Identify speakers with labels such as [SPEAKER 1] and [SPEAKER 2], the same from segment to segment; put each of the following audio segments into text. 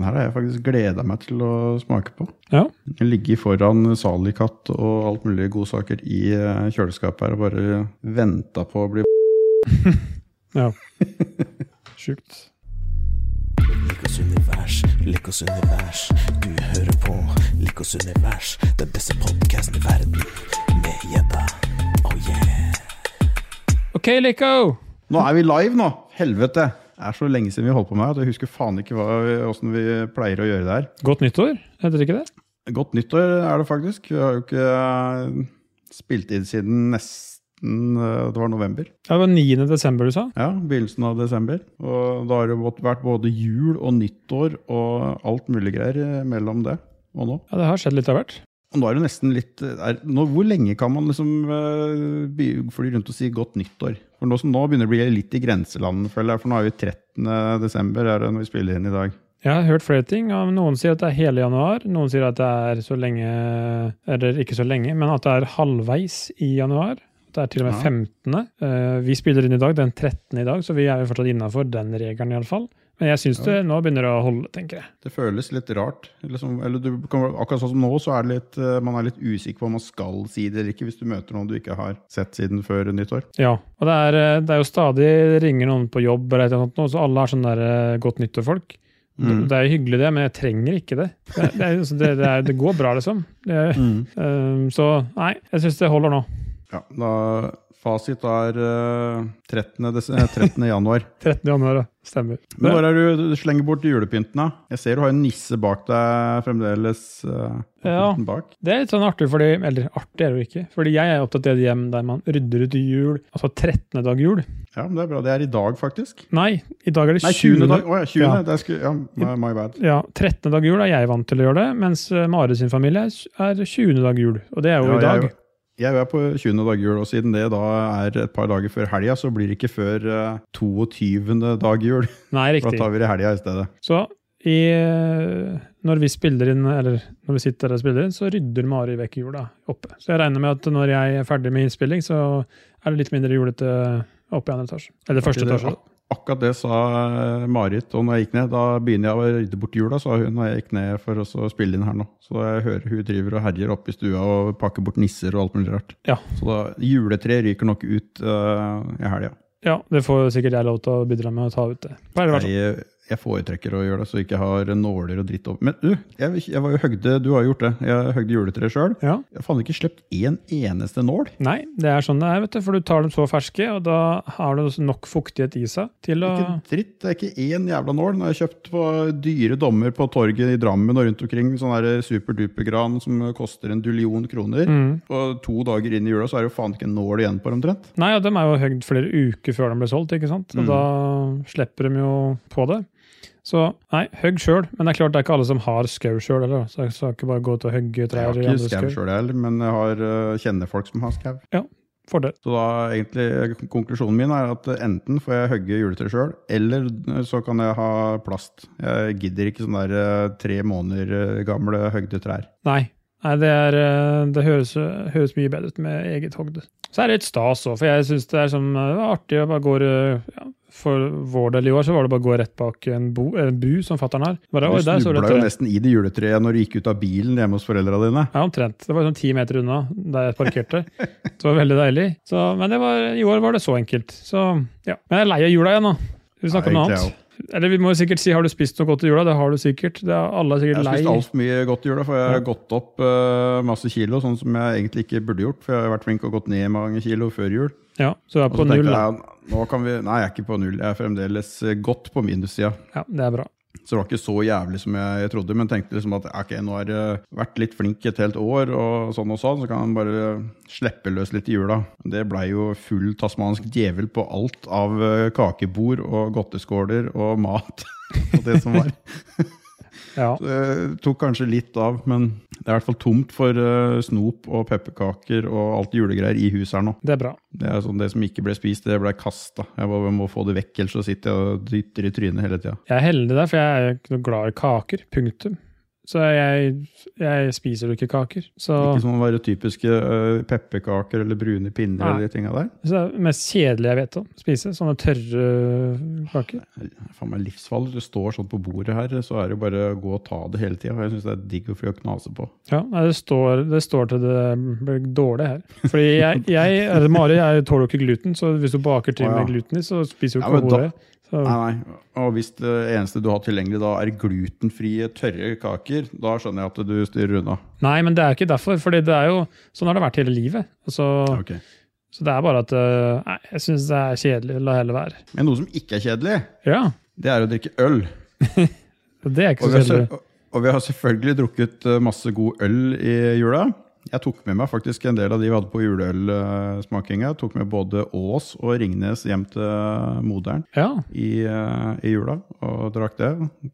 [SPEAKER 1] her har jeg faktisk gleda meg til å smake på.
[SPEAKER 2] Ja.
[SPEAKER 1] Ligge foran Salikat og alt mulig godsaker i eh, kjøleskapet her og bare venta på å bli
[SPEAKER 2] ja. Sjukt.
[SPEAKER 3] Likos univers, Likos univers. Du hører på Likos univers, den beste podkasten i verden. Med gjedda. Oh yeah.
[SPEAKER 2] OK, Lico!
[SPEAKER 1] Nå er vi live, nå! Helvete! Det er så lenge siden vi holdt på med det at jeg husker faen ikke åssen vi pleier å gjøre det her.
[SPEAKER 2] Godt nyttår, heter det ikke det?
[SPEAKER 1] Godt nyttår er det faktisk. Vi har jo ikke eh, spilt inn siden nesten eh, det var november.
[SPEAKER 2] Ja, det var 9. desember du sa?
[SPEAKER 1] Ja, begynnelsen av desember. Og da har det mått- vært både jul og nyttår og alt mulig greier eh, mellom det og nå.
[SPEAKER 2] Ja, det har skjedd litt av hvert.
[SPEAKER 1] Og nå er det nesten litt er, nå, Hvor lenge kan man liksom eh, by- fly rundt og si godt nyttår? For nå, som nå begynner det å bli litt i grenselandet, føler jeg. For nå er vi 13. desember er det når vi spiller inn i dag.
[SPEAKER 2] Jeg har hørt flere ting. og Noen sier at det er hele januar, noen sier at det er så lenge Eller ikke så lenge, men at det er halvveis i januar. Det er til og med
[SPEAKER 1] Ja.
[SPEAKER 2] 15. Eh, vi spiller inn i dag, den 13. i dag, så vi er jo fortsatt innafor den regelen iallfall. Men jeg syns det nå begynner det å holde, tenker jeg.
[SPEAKER 1] Det føles litt rart. Liksom, eller du, kan- akkurat sånn som nå, så er det litt, eh, man er litt usikker på om man skal si det eller ikke, hvis du møter noen du ikke har sett siden før nyttår.
[SPEAKER 2] Ja, og det er, eh, det er jo stadig ringer noen på jobb eller et eller annet, nå, så alle har sånn der eh, godt nyttår-folk.
[SPEAKER 1] Mm.
[SPEAKER 2] Det er jo hyggelig det, men jeg trenger ikke det. Det, er- det, er, altså, det, det, er, det går bra, liksom. Det,
[SPEAKER 1] Mm.
[SPEAKER 2] eh, så nei, jeg syns det holder nå.
[SPEAKER 1] Ja, da, fasit er eh, 13. Des eh, 13. januar.
[SPEAKER 2] 13. januar, ja. stemmer.
[SPEAKER 1] Men når er det du, du slenger bort julepynten, da? Jeg ser du har en nisse bak deg fremdeles. eh,
[SPEAKER 2] Ja.
[SPEAKER 1] pynten Bak.
[SPEAKER 2] Det er litt sånn artig, fordi, eller artig er det jo ikke, fordi jeg er opptatt av et hjem der man rydder ut jul, altså 13. dag jul.
[SPEAKER 1] Ja, men det er bra. Det er i dag, faktisk.
[SPEAKER 2] Nei, i dag er det
[SPEAKER 1] Nei, 20.
[SPEAKER 2] 20.
[SPEAKER 1] dag. Å ja, 20.
[SPEAKER 2] Ja.
[SPEAKER 1] Det er sku, ja, my, my bad.
[SPEAKER 2] Ja, 13. dag jul er jeg vant til å gjøre det, mens eh, Mare sin familie er 20. dag jul, og det er
[SPEAKER 1] Ja,
[SPEAKER 2] jo i dag.
[SPEAKER 1] Jeg, jeg er på 20. dag jul, og siden det da er et par dager før helga, så blir det ikke før eh, 22. dag jul.
[SPEAKER 2] Nei,
[SPEAKER 1] Da
[SPEAKER 2] riktig.
[SPEAKER 1] tar vi det i helga i stedet.
[SPEAKER 2] Så i, når vi spiller inn, eller når vi sitter og spiller inn, så rydder Mari vekk jula oppe. Så jeg regner med at når jeg er ferdig med innspilling, så er det litt mindre julete oppe i andre etasje. Eller første
[SPEAKER 1] Det-
[SPEAKER 2] etasje.
[SPEAKER 1] ak- Akkurat det sa eh, Marit, og når jeg gikk ned, da begynner jeg å rydde bort jula, sa hun når jeg gikk ned for å så spille inn her nå. Så jeg hører hun driver og herjer oppe i stua og pakker bort nisser og alt mulig rart.
[SPEAKER 2] Ja.
[SPEAKER 1] Så da, juletreet ryker nok ut eh, i helga.
[SPEAKER 2] Ja, det får sikkert jeg lov til å bidra med å ta ut det. Pleier det å være sånn.
[SPEAKER 1] Jeg, jeg foretrekker å gjøre det, så jeg ikke har nåler og dritt over. Men du, jeg, jeg var jo høgde, du har gjort det, jeg høgde juletreet sjøl.
[SPEAKER 2] Ja.
[SPEAKER 1] Jeg har faen ikke sluppet én eneste nål.
[SPEAKER 2] Nei, det er sånn det er, vet du, for du tar dem så ferske, og da har du også nok fuktighet i seg til å
[SPEAKER 1] Ikke dritt. Det er ikke én jævla nål. Den har jeg kjøpt på dyre dommer på torget i Drammen og rundt omkring. Sånn der superdupergran som koster en dullion kroner.
[SPEAKER 2] Mm.
[SPEAKER 1] Og to dager inn i jula så er det jo faen ikke en nål igjen på det omtrent.
[SPEAKER 2] Nei, og de er jo høgd flere uker før de ble solgt, ikke sant? Og
[SPEAKER 1] Mm.
[SPEAKER 2] da slipper de jo på det. Så nei, høgg sjøl. Men det er klart det er ikke alle som har skau sjøl heller. da. Så jeg skal ikke bare gå ut og hogge
[SPEAKER 1] Jeg har
[SPEAKER 2] trær i
[SPEAKER 1] ikke
[SPEAKER 2] andre
[SPEAKER 1] skau
[SPEAKER 2] skau.
[SPEAKER 1] sjøl heller, men jeg har, eh, kjenner folk som har skau.
[SPEAKER 2] Fordel.
[SPEAKER 1] Så da egentlig konklusjonen min er at enten får jeg hogge juletre sjøl, eller eh, så kan jeg ha plast. Jeg gidder ikke sånne der eh, tre måneder eh, gamle høgde trær.
[SPEAKER 2] Nei. Nei, det, er, eh, det høres, høres mye bedre ut med eget hogd. Så er det litt stas òg, for jeg syns det er som, eh, det var artig å bare gå eh, ja, For vår del i år så var det bare å gå rett bak en, bo, en bu som fatter'n har. Bare,
[SPEAKER 1] Du
[SPEAKER 2] «Oi, der står
[SPEAKER 1] snubla
[SPEAKER 2] det et
[SPEAKER 1] jo
[SPEAKER 2] tre».
[SPEAKER 1] nesten i det juletreet når du gikk ut av bilen hjemme hos foreldra dine.
[SPEAKER 2] Ja, omtrent. Det var sånn ti meter unna der jeg parkerte. Så det var veldig deilig. Så, men det var, i år var det så enkelt. Så, ja. Men jeg er lei av jula igjen, da. Vi snakker
[SPEAKER 1] Ja,
[SPEAKER 2] om noe
[SPEAKER 1] egentlig,
[SPEAKER 2] annet. Eller vi må jo sikkert si har du spist noe godt i jula? Det har du sikkert. Det er, alle er
[SPEAKER 1] Jeg
[SPEAKER 2] sikkert
[SPEAKER 1] har
[SPEAKER 2] lei.
[SPEAKER 1] spist altfor mye godt i jula, for jeg har
[SPEAKER 2] Ja.
[SPEAKER 1] gått opp eh, masse kilo, sånn som jeg egentlig ikke burde gjort. For jeg har vært flink og gått ned mange kilo før jul.
[SPEAKER 2] Ja, så du er
[SPEAKER 1] Og
[SPEAKER 2] på
[SPEAKER 1] så
[SPEAKER 2] null.
[SPEAKER 1] tenkte
[SPEAKER 2] da.
[SPEAKER 1] jeg nå kan vi Nei, jeg er ikke på null. Jeg er fremdeles eh, godt på minussida.
[SPEAKER 2] Ja, det er bra.
[SPEAKER 1] Så det var ikke så jævlig som jeg, jeg trodde, men tenkte liksom at ok, nå har jeg vært litt flink et helt år, og sånn og sånn, så kan man bare slippe løs litt i jula. Det blei jo full tasmansk djevel på alt av eh, kakebord og godteskåler og mat og det som var.
[SPEAKER 2] Ja.
[SPEAKER 1] Det tok kanskje litt av, men det er i hvert fall tomt for eh, snop og pepperkaker og alt julegreier i huset her nå.
[SPEAKER 2] Det er bra.
[SPEAKER 1] Det er sånn det som ikke ble spist, det ble kasta. Jeg bare må få det vekk, ellers så sitter jeg og dytter i trynet hele tida.
[SPEAKER 2] Jeg er heldig der, for jeg er jo ikke noe glad i kaker. Punktum. Så jeg, jeg spiser jo ikke kaker. Så,
[SPEAKER 1] Ikke sånn være typiske eh, pepperkaker eller brune pinner
[SPEAKER 2] Nei.
[SPEAKER 1] eller de tinga der.
[SPEAKER 2] så det er det mest kjedelige jeg vet om. Spise sånne tørre kaker.
[SPEAKER 1] Det er Faen meg livsfarlig. Det står sånn på bordet her, så er det bare å gå og ta det hele tida. Jeg syns det er digg å få knase på.
[SPEAKER 2] Ja, nei, det, står, det står til det blir dårlig her. Fordi jeg, jeg eller Mari, jeg tåler jo ikke gluten, så hvis du baker til
[SPEAKER 1] Å, ja.
[SPEAKER 2] med gluten i, så spiser du
[SPEAKER 1] Ja,
[SPEAKER 2] ikke
[SPEAKER 1] men da-
[SPEAKER 2] noe av det. Så,
[SPEAKER 1] Nei, nei. Og hvis det eneste du har tilgjengelig da er glutenfrie, tørre kaker, da skjønner jeg at du styrer unna.
[SPEAKER 2] nei, men det er ikke derfor. Fordi det er jo, sånn har det vært hele livet. Altså,
[SPEAKER 1] Ok.
[SPEAKER 2] Så det er bare at øh, Nei, jeg syns det er kjedelig. La heller være.
[SPEAKER 1] Men noe som ikke er kjedelig,
[SPEAKER 2] Ja,
[SPEAKER 1] det er å drikke øl.
[SPEAKER 2] det er
[SPEAKER 1] Og
[SPEAKER 2] ikke så
[SPEAKER 1] vi, har,
[SPEAKER 2] kjedelig.
[SPEAKER 1] selv- og vi har selvfølgelig drukket eh, masse god øl i jula. Jeg tok med meg faktisk en del av de vi hadde på juleølsmakinga. Tok med både Ås og Ringnes hjem til eh, moderen
[SPEAKER 2] Ja,
[SPEAKER 1] i, eh, i jula og drakk det.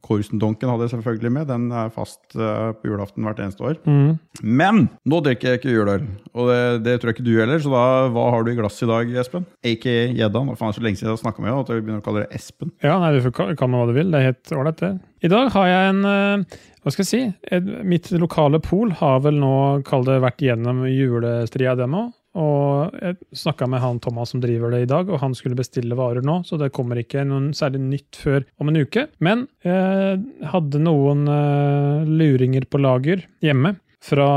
[SPEAKER 1] Korsendonken hadde jeg selvfølgelig med. Den er fast eh, på julaften hvert eneste år.
[SPEAKER 2] mm.
[SPEAKER 1] Men nå drikker jeg ikke juleøl, og det, det tror jeg ikke du heller. Så da, hva har du i glasset i dag, Espen? Aka Gjeddan. Hva faen, det er så lenge siden jeg har snakka med deg at jeg begynner å kalle deg Espen.
[SPEAKER 2] ja nei, du får ka- kan med hva du vil. Det er helt ålreit, det. I dag har jeg en øh, Hva skal jeg si? Et, mitt lokale pol har vel nå, kall det, vært gjennom julestria, det nå. Og jeg snakka med han Thomas som driver det i dag, og han skulle bestille varer nå, så det kommer ikke noen særlig nytt før om en uke. Men eh, hadde noen eh, luringer på lager hjemme fra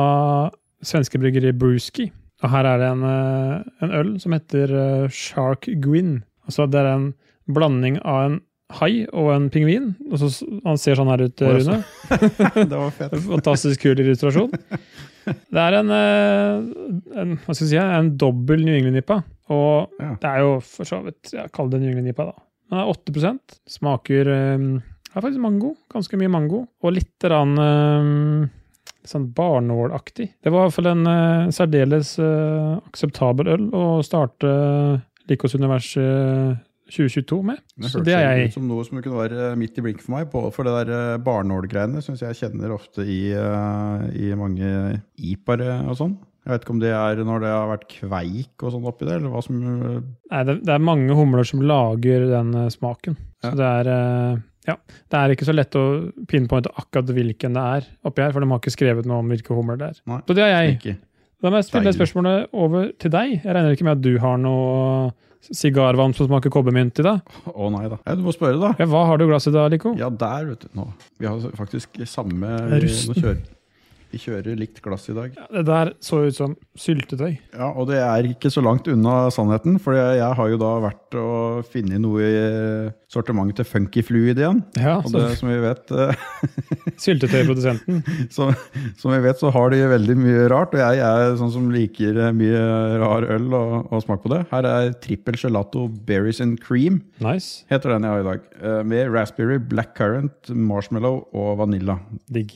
[SPEAKER 2] svenske bryggeri Brewski. Og her er det en, eh, en øl som heter eh, Shark Gwin. Altså det er en blanding av en hai og en pingvin. Og så, s- han ser sånn her ut,
[SPEAKER 1] Oi,
[SPEAKER 2] Rune.
[SPEAKER 1] Det var fett.
[SPEAKER 2] Fantastisk kul illustrasjon. Det er en, eh, en hva skal jeg si, en dobbel New England-nippa. Og
[SPEAKER 1] Ja.
[SPEAKER 2] det er jo for så vidt ja, Kall det New England-nippa, da. Den er 8 Smaker eh, er faktisk mango. Ganske mye mango. Og litt rann, eh, sånn barnålaktig. Det var i hvert fall en eh, særdeles eh, akseptabel øl å starte Likos univers eh, 2022 med.
[SPEAKER 1] Det
[SPEAKER 2] Så det er jeg
[SPEAKER 1] ut som noe som kunne være eh, midt i blinken for meg. på- For det der eh, barnålgreiene syns jeg kjenner ofte i, eh, i mange ipare og sånn. Jeg vet ikke om det er når det har vært kveik og sånn oppi det, eller hva som eh,
[SPEAKER 2] Nei, det, det er mange humler som lager den eh, smaken. Så
[SPEAKER 1] Ja.
[SPEAKER 2] det er eh, ja, det er ikke så lett å pinpointe akkurat hvilken det er oppi her, for de har ikke skrevet noe om hvilke humler det er.
[SPEAKER 1] Nei.
[SPEAKER 2] Så det er jeg.
[SPEAKER 1] ikke.
[SPEAKER 2] Da må jeg spille det
[SPEAKER 1] Deilig.
[SPEAKER 2] spørsmålet over til deg. Jeg regner ikke med at du har noe sigarvann som smaker kobbermynt i dag.
[SPEAKER 1] Å nei da. Ja, du må spørre, da.
[SPEAKER 2] Ja, hva har du i glasset da, Lico?
[SPEAKER 1] Ja, der, vet du. Nå. Vi har faktisk samme
[SPEAKER 2] er rusten.
[SPEAKER 1] Nå kjører- Vi kjører likt glass i dag.
[SPEAKER 2] Ja, Det der så ut som syltetøy.
[SPEAKER 1] Ja, og det er ikke så langt unna sannheten, for jeg har jo da vært og funnet noe i sortimentet til Funky Fluid igjen.
[SPEAKER 2] Ja,
[SPEAKER 1] Og
[SPEAKER 2] så,
[SPEAKER 1] det, som, vi vet, eh,
[SPEAKER 2] Syltetøyprodusenten.
[SPEAKER 1] som, som vi vet, så har de veldig mye rart, og jeg er sånn som liker eh, mye rar øl og, og smak på det. Her er trippel gelato berries and cream,
[SPEAKER 2] Nice.
[SPEAKER 1] heter den jeg har i dag. eh, Med raspberry, blackcurrant, marshmallow og vanilla.
[SPEAKER 2] Digg.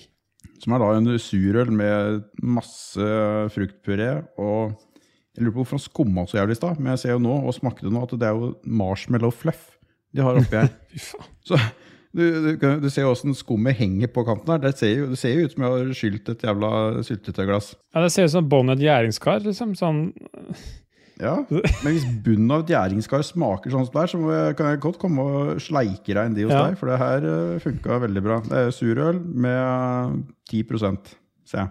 [SPEAKER 1] Som er da en surøl med masse fruktpuré og Jeg lurer på hvorfor han skumma så jævlig i stad, men jeg ser jo nå og smakte nå at det er jo marshmallow fluff de har oppi her.
[SPEAKER 2] Fy faen.
[SPEAKER 1] Så du, du, kan- du ser jo åssen skummet henger på kanten her. Det ser jo, det ser jo ut som jeg har skylt et jævla syltetøyglass.
[SPEAKER 2] Ja, det ser ut som båndet i et gjæringskar, liksom. Sånn
[SPEAKER 1] Ja, Men hvis bunnen av et gjæringskar smaker sånn som det er, så må jeg, kan jeg godt komme og sleike rein de hos
[SPEAKER 2] Ja.
[SPEAKER 1] deg, for det her eh, funka veldig bra. Det er surøl med 10 ser jeg.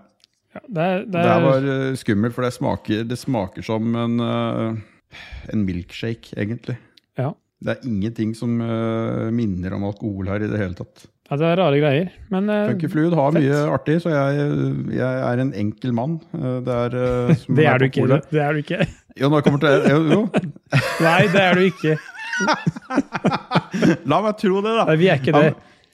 [SPEAKER 2] ja, det er, det
[SPEAKER 1] Det
[SPEAKER 2] er,
[SPEAKER 1] her var eh, skummelt, for det smaker, det smaker som en, eh, en milkshake, egentlig.
[SPEAKER 2] ja.
[SPEAKER 1] Det er ingenting som eh, minner om alkohol her i det hele tatt.
[SPEAKER 2] ja, det er rare greier. Men eh,
[SPEAKER 1] Funky Fluid har
[SPEAKER 2] fett.
[SPEAKER 1] mye artig, så jeg, jeg er en enkel mann. Eh, Det er, eh, som
[SPEAKER 2] Det
[SPEAKER 1] er
[SPEAKER 2] er du
[SPEAKER 1] på
[SPEAKER 2] ikke.
[SPEAKER 1] polet.
[SPEAKER 2] Det er du ikke.
[SPEAKER 1] Jo, når jeg kommer til jo, jo,
[SPEAKER 2] Nei, det er du ikke.
[SPEAKER 1] La meg tro det, da!
[SPEAKER 2] Nei, vi er ikke det.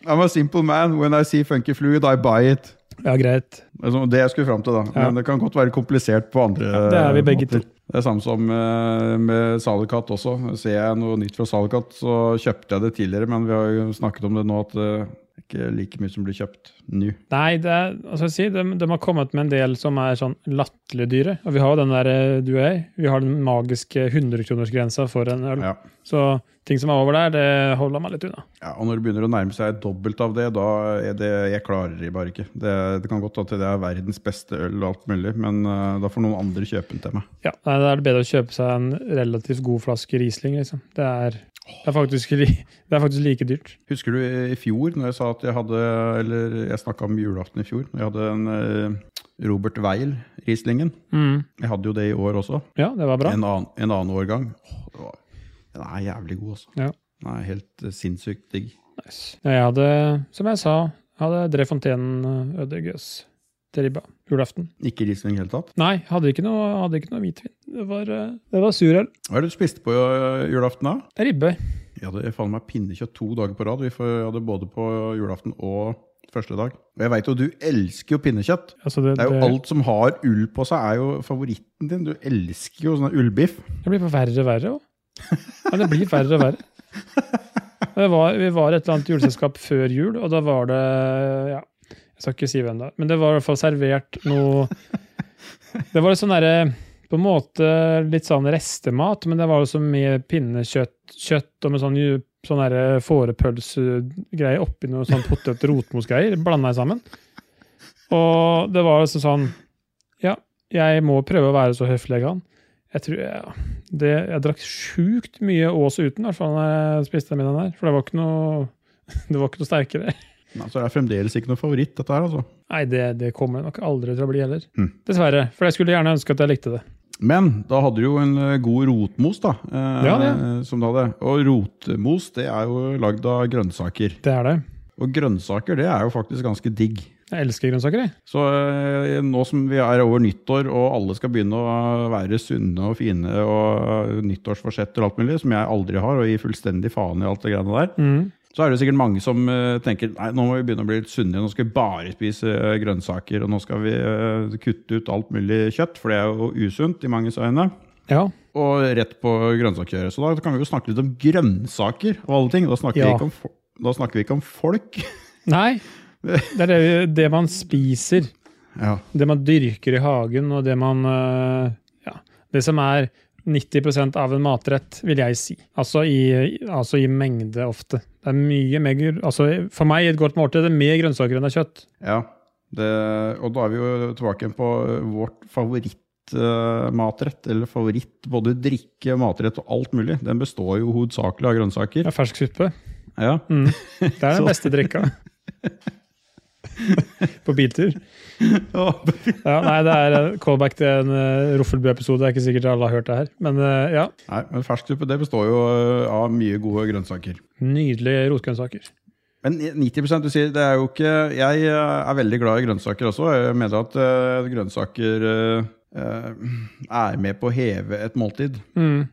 [SPEAKER 1] I'm, I'm a simple man. When I see funky fluid, I buy it.
[SPEAKER 2] Ja, greit.
[SPEAKER 1] Altså, Det jeg skulle fram til, da.
[SPEAKER 2] Ja.
[SPEAKER 1] Men det kan godt være komplisert på andre
[SPEAKER 2] Ja, det er vi begge to.
[SPEAKER 1] Det er samme som eh, med Salicat også. Ser jeg noe nytt fra Salicat, så kjøpte jeg det tidligere, men vi har jo snakket om det nå at det er ikke like mye som blir kjøpt nå.
[SPEAKER 2] Nei, det er, altså jeg sier, de, de har kommet med en del som er sånn latterlig dyre. Og vi har jo den der eh, du og jeg. Vi har den magiske 100-kronersgrensa for en øl.
[SPEAKER 1] Ja.
[SPEAKER 2] Så ting som er over der, det holder meg litt unna.
[SPEAKER 1] Ja, og når det begynner å nærme seg dobbelt av det, da er det Jeg klarer det bare ikke. Det, det kan godt at det er verdens beste øl og alt mulig, men eh, da får noen andre kjøpe den til meg.
[SPEAKER 2] Ja, nei, Da er det bedre å kjøpe seg en relativt god flaske Riesling, liksom. Det er
[SPEAKER 1] Å,
[SPEAKER 2] Det er faktisk, li, det er faktisk like dyrt.
[SPEAKER 1] Husker du i fjor når jeg sa at jeg hadde Eller jeg snakka om julaften i fjor. Når jeg hadde en eh, Robert Weil-Rieslingen.
[SPEAKER 2] Mm.
[SPEAKER 1] Jeg hadde jo det i år også.
[SPEAKER 2] Ja, det var bra.
[SPEAKER 1] En annen, en annen årgang. Åh, det var, den er jævlig god, altså.
[SPEAKER 2] Ja.
[SPEAKER 1] Den er helt eh, sinnssykt digg.
[SPEAKER 2] Nice. Ja, Jeg hadde, som jeg sa, hadde Drefontaine Ødegøs til ribba julaften.
[SPEAKER 1] Ikke Riesling i det hele tatt.
[SPEAKER 2] Nei, hadde ikke noe, hadde ikke noe hvitvin. Det var, eh, det var surøl.
[SPEAKER 1] Hva er det du spiste på eh, julaften, da?
[SPEAKER 2] Ribbe.
[SPEAKER 1] Jeg hadde faen meg pinnekjøtt to dager på rad. Vi for- jeg hadde både på julaften og første dag. Og jeg veit jo du elsker jo pinnekjøtt.
[SPEAKER 2] Altså det,
[SPEAKER 1] Det er jo
[SPEAKER 2] det-
[SPEAKER 1] alt som har ull på seg, er jo favoritten din. Du elsker jo sånn ullbiff.
[SPEAKER 2] Det blir verre og verre òg. Ja, det blir verre og verre. Det var, vi var i et eller annet juleselskap før jul, og da var det ja, Jeg skal ikke si hvem det er, men det var i hvert fall servert noe Det var litt sånn derre På en måte litt sånn restemat, men det var også med pinnekjøtt kjøtt og med sånn, ju- sånn derre fårepølsegreie oppi noe sånn potet-rotmos-greier, blanda sammen. Og det var liksom sånn Ja, jeg må prøve å være så høflig jeg kan. Jeg tror jeg det, jeg drakk sjukt mye Ås uten, i hvert fall når jeg spiste den middagen der. For det var ikke noe, det var ikke noe sterkere.
[SPEAKER 1] Nei, så altså, det er fremdeles ikke noe favoritt, dette her, altså.
[SPEAKER 2] Nei, det, det kommer det nok aldri til å bli heller.
[SPEAKER 1] Mm.
[SPEAKER 2] Dessverre. For jeg skulle gjerne ønske at jeg likte det.
[SPEAKER 1] Men da hadde du jo en eh, god rotmos, da. Eh,
[SPEAKER 2] Ja, det.
[SPEAKER 1] Som du hadde. Og rotmos, det er jo lagd av grønnsaker.
[SPEAKER 2] Det er det.
[SPEAKER 1] Og grønnsaker, det er jo faktisk ganske digg.
[SPEAKER 2] Jeg elsker grønnsaker, jeg.
[SPEAKER 1] Så eh, nå som vi er over nyttår, og alle skal begynne å være sunne og fine, og eh, nyttårsforsetter og alt mulig, som jeg aldri har, og gir fullstendig faen i alt det greiene der,
[SPEAKER 2] Mm.
[SPEAKER 1] så er det sikkert mange som eh, tenker nei, nå må vi begynne å bli litt sunne, nå skal vi bare spise eh, grønnsaker, og nå skal vi eh, kutte ut alt mulig kjøtt, for det er jo usunt i manges øyne.
[SPEAKER 2] Ja.
[SPEAKER 1] Og rett på grønnsaker. Så da kan vi jo snakke litt om grønnsaker og alle ting. Da snakker,
[SPEAKER 2] Ja.
[SPEAKER 1] vi, ikke om fo- da snakker vi ikke om folk.
[SPEAKER 2] Nei. Det er det, det man spiser,
[SPEAKER 1] Ja.
[SPEAKER 2] det man dyrker i hagen, og det man øh, Ja. Det som er 90 av en matrett, vil jeg si. Altså i, altså i mengde, ofte. Det er mye mer gr- altså For meg, i et godt måltid, det er mer grønnsaker enn det er kjøtt.
[SPEAKER 1] Ja, det, og da er vi jo tilbake igjen på eh, vårt favorittmatrett, eller favoritt både drikke, matrett og alt mulig. Den består jo hovedsakelig av grønnsaker.
[SPEAKER 2] Ja, fersk suppe.
[SPEAKER 1] Ja.
[SPEAKER 2] Mm. Det er
[SPEAKER 1] Så-
[SPEAKER 2] den beste drikka. På biltur. Ja, nei, det er eh, callback til en uh, Roffelbu-episode. Det er ikke sikkert alle har hørt det her. Men eh, ja,
[SPEAKER 1] Nei, men fersksuppe det består jo eh, av mye gode grønnsaker.
[SPEAKER 2] nydelige rotgrønnsaker.
[SPEAKER 1] Men 90 du sier, det er jo ikke Jeg eh, er veldig glad i grønnsaker også. Jeg mener at eh, grønnsaker eh, eh, er med på å heve et måltid.
[SPEAKER 2] Mm.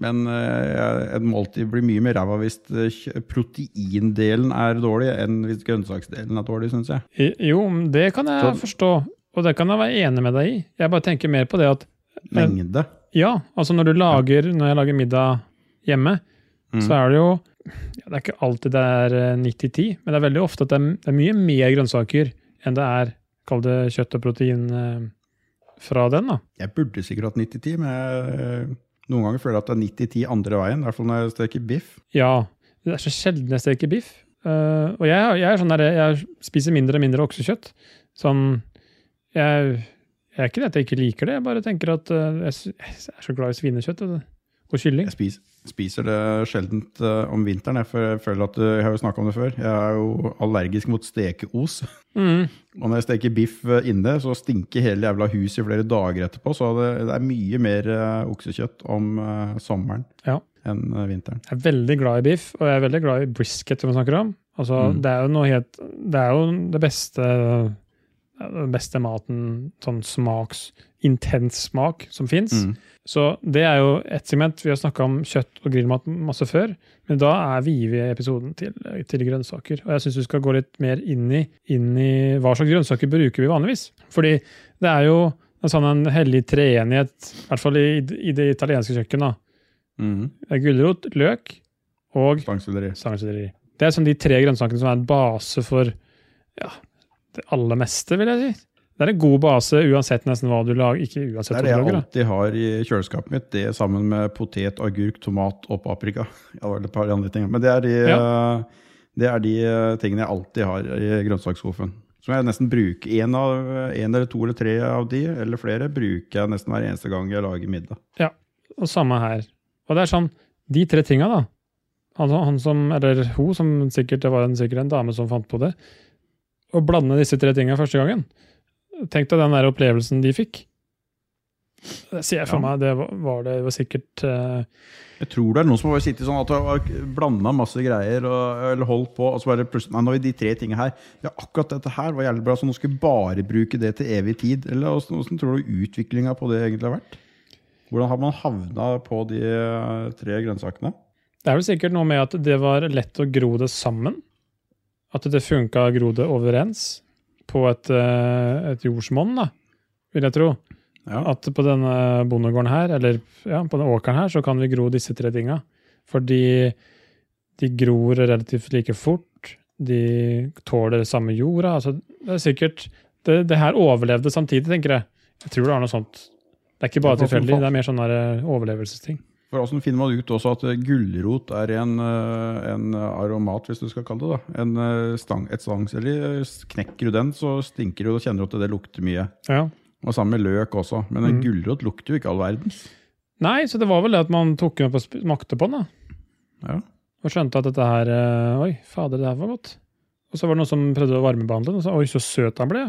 [SPEAKER 1] Men eh, et måltid blir mye mer ræva hvis eh, kjø- proteindelen er dårlig, enn hvis grønnsaksdelen er dårlig, syns jeg.
[SPEAKER 2] I, jo, men det kan jeg
[SPEAKER 1] Så-
[SPEAKER 2] forstå, og det kan jeg være enig med deg i. Jeg bare tenker mer på det at Men-
[SPEAKER 1] Mengde.
[SPEAKER 2] ja, altså når du lager Når jeg lager middag hjemme,
[SPEAKER 1] Mm.
[SPEAKER 2] så er det jo ja, Det er ikke alltid det er eh, 90-10, men det er veldig ofte at det er, det er mye mer grønnsaker enn det er Kall det kjøtt og protein eh, fra den, da.
[SPEAKER 1] Jeg burde sikkert hatt 90-10, men jeg, eh, noen ganger føler jeg at det er 90-10 andre veien. I hvert fall når jeg steker biff.
[SPEAKER 2] Ja. Det er så sjelden jeg steker biff. Eh, og jeg, jeg er sånn der, jeg spiser mindre og mindre oksekjøtt. Sånn Jeg, jeg er ikke det at jeg ikke liker det, jeg bare tenker at eh, jeg, sy- jeg er så glad i svinekjøtt vet du, og kylling.
[SPEAKER 1] Jeg spis, spiser det sjeldent eh, om vinteren, jeg, for jeg føler at eh, jeg har jo snakka om det før. Jeg er jo allergisk mot stekeos.
[SPEAKER 2] Mm.
[SPEAKER 1] Og når jeg steker biff eh, inne, så stinker hele jævla huset i flere dager etterpå. Så det, det er mye mer eh, oksekjøtt om eh, sommeren
[SPEAKER 2] Ja.
[SPEAKER 1] enn eh, vinteren.
[SPEAKER 2] Jeg er veldig glad i biff, og jeg er veldig glad i brisket, som vi snakker om. Altså,
[SPEAKER 1] Mm.
[SPEAKER 2] Det er jo noe helt Det er jo det beste det er den beste maten, sånn smaks Intens smak som fins.
[SPEAKER 1] Mm.
[SPEAKER 2] Så det er jo ett segment. Vi har snakka om kjøtt og grillmat masse før, men da er vi i episoden til, til grønnsaker. Og jeg syns vi skal gå litt mer inn i, inn i hva slags grønnsaker bruker vi vanligvis. Fordi det er jo en sånn en hellig treenighet, i hvert fall i, i det italienske kjøkkenet.
[SPEAKER 1] Mm.
[SPEAKER 2] Det er Gulrot, løk og
[SPEAKER 1] Stangselleri.
[SPEAKER 2] stangselleri. Det er sånn de tre grønnsakene som er en base for ja, det aller meste, vil jeg si. Det er en god base uansett nesten hva du lager. Ikke uansett
[SPEAKER 1] Det er
[SPEAKER 2] hva
[SPEAKER 1] det
[SPEAKER 2] du
[SPEAKER 1] jeg
[SPEAKER 2] lager, da.
[SPEAKER 1] alltid har i kjøleskapet mitt. Det sammen med potet, agurk, tomat og paprika. Ja, det var et par andre ting. Men det er de, eh, det er de eh, tingene jeg alltid har i grønnsaksskuffen. Som jeg nesten bruker. En, av, en eller to eller tre av de, eller flere, bruker jeg nesten hver eneste gang jeg lager middag.
[SPEAKER 2] Og samme her. Og det er sånn, de tre tinga da, han, han som, eller hun, som sikkert det var en, sikkert en dame som fant på det, å blande disse tre tingene første gangen. Tenk deg den der opplevelsen de fikk. Det ser jeg for
[SPEAKER 1] Ja.
[SPEAKER 2] meg, det var, var det var sikkert eh,
[SPEAKER 1] Jeg tror det er noen som har bare sittet sånn at og blanda masse greier og, eller holdt på, og så bare plutselig Nei, nå er de tre tinga her Ja, akkurat dette her var jævlig bra, så nå skal vi bare bruke det til evig tid. Eller åssen åssen tror du utviklinga på det egentlig har vært? Hvordan har man havna på de eh, tre grønnsakene?
[SPEAKER 2] Det er vel sikkert noe med at det var lett å gro det sammen. At det funka å gro det overens på et, eh, et jordsmonn, da, vil jeg tro.
[SPEAKER 1] Ja.
[SPEAKER 2] At på denne bondegården her, eller ja, på denne åkeren her, så kan vi gro disse tre tinga. Fordi de gror relativt like fort, de tåler samme jorda. Altså, det er sikkert det, det her overlevde samtidig, tenker jeg. Jeg tror det er noe sånt. Det er ikke bare
[SPEAKER 1] Det er noe som
[SPEAKER 2] tilfeldig,
[SPEAKER 1] falt.
[SPEAKER 2] det er mer sånn der, eh, overlevelsesting.
[SPEAKER 1] For Hvordan finner man ut også at eh, gulrot er en, eh, en aromat, hvis du skal kalle det det? En eh, stang, et stangselleri. Knekker du den, så stinker du og kjenner du at det lukter mye.
[SPEAKER 2] Ja.
[SPEAKER 1] Og Sammen med løk også. Men en
[SPEAKER 2] Mhm.
[SPEAKER 1] gulrot lukter jo ikke all verdens.
[SPEAKER 2] Nei, så det var vel det at man tok den opp og sp- smakte på den, da.
[SPEAKER 1] Ja.
[SPEAKER 2] Og skjønte at dette her eh, Oi, fader, det her var godt. Og så var det noen som prøvde å varmebehandle den, og sa oi, så søt han ble.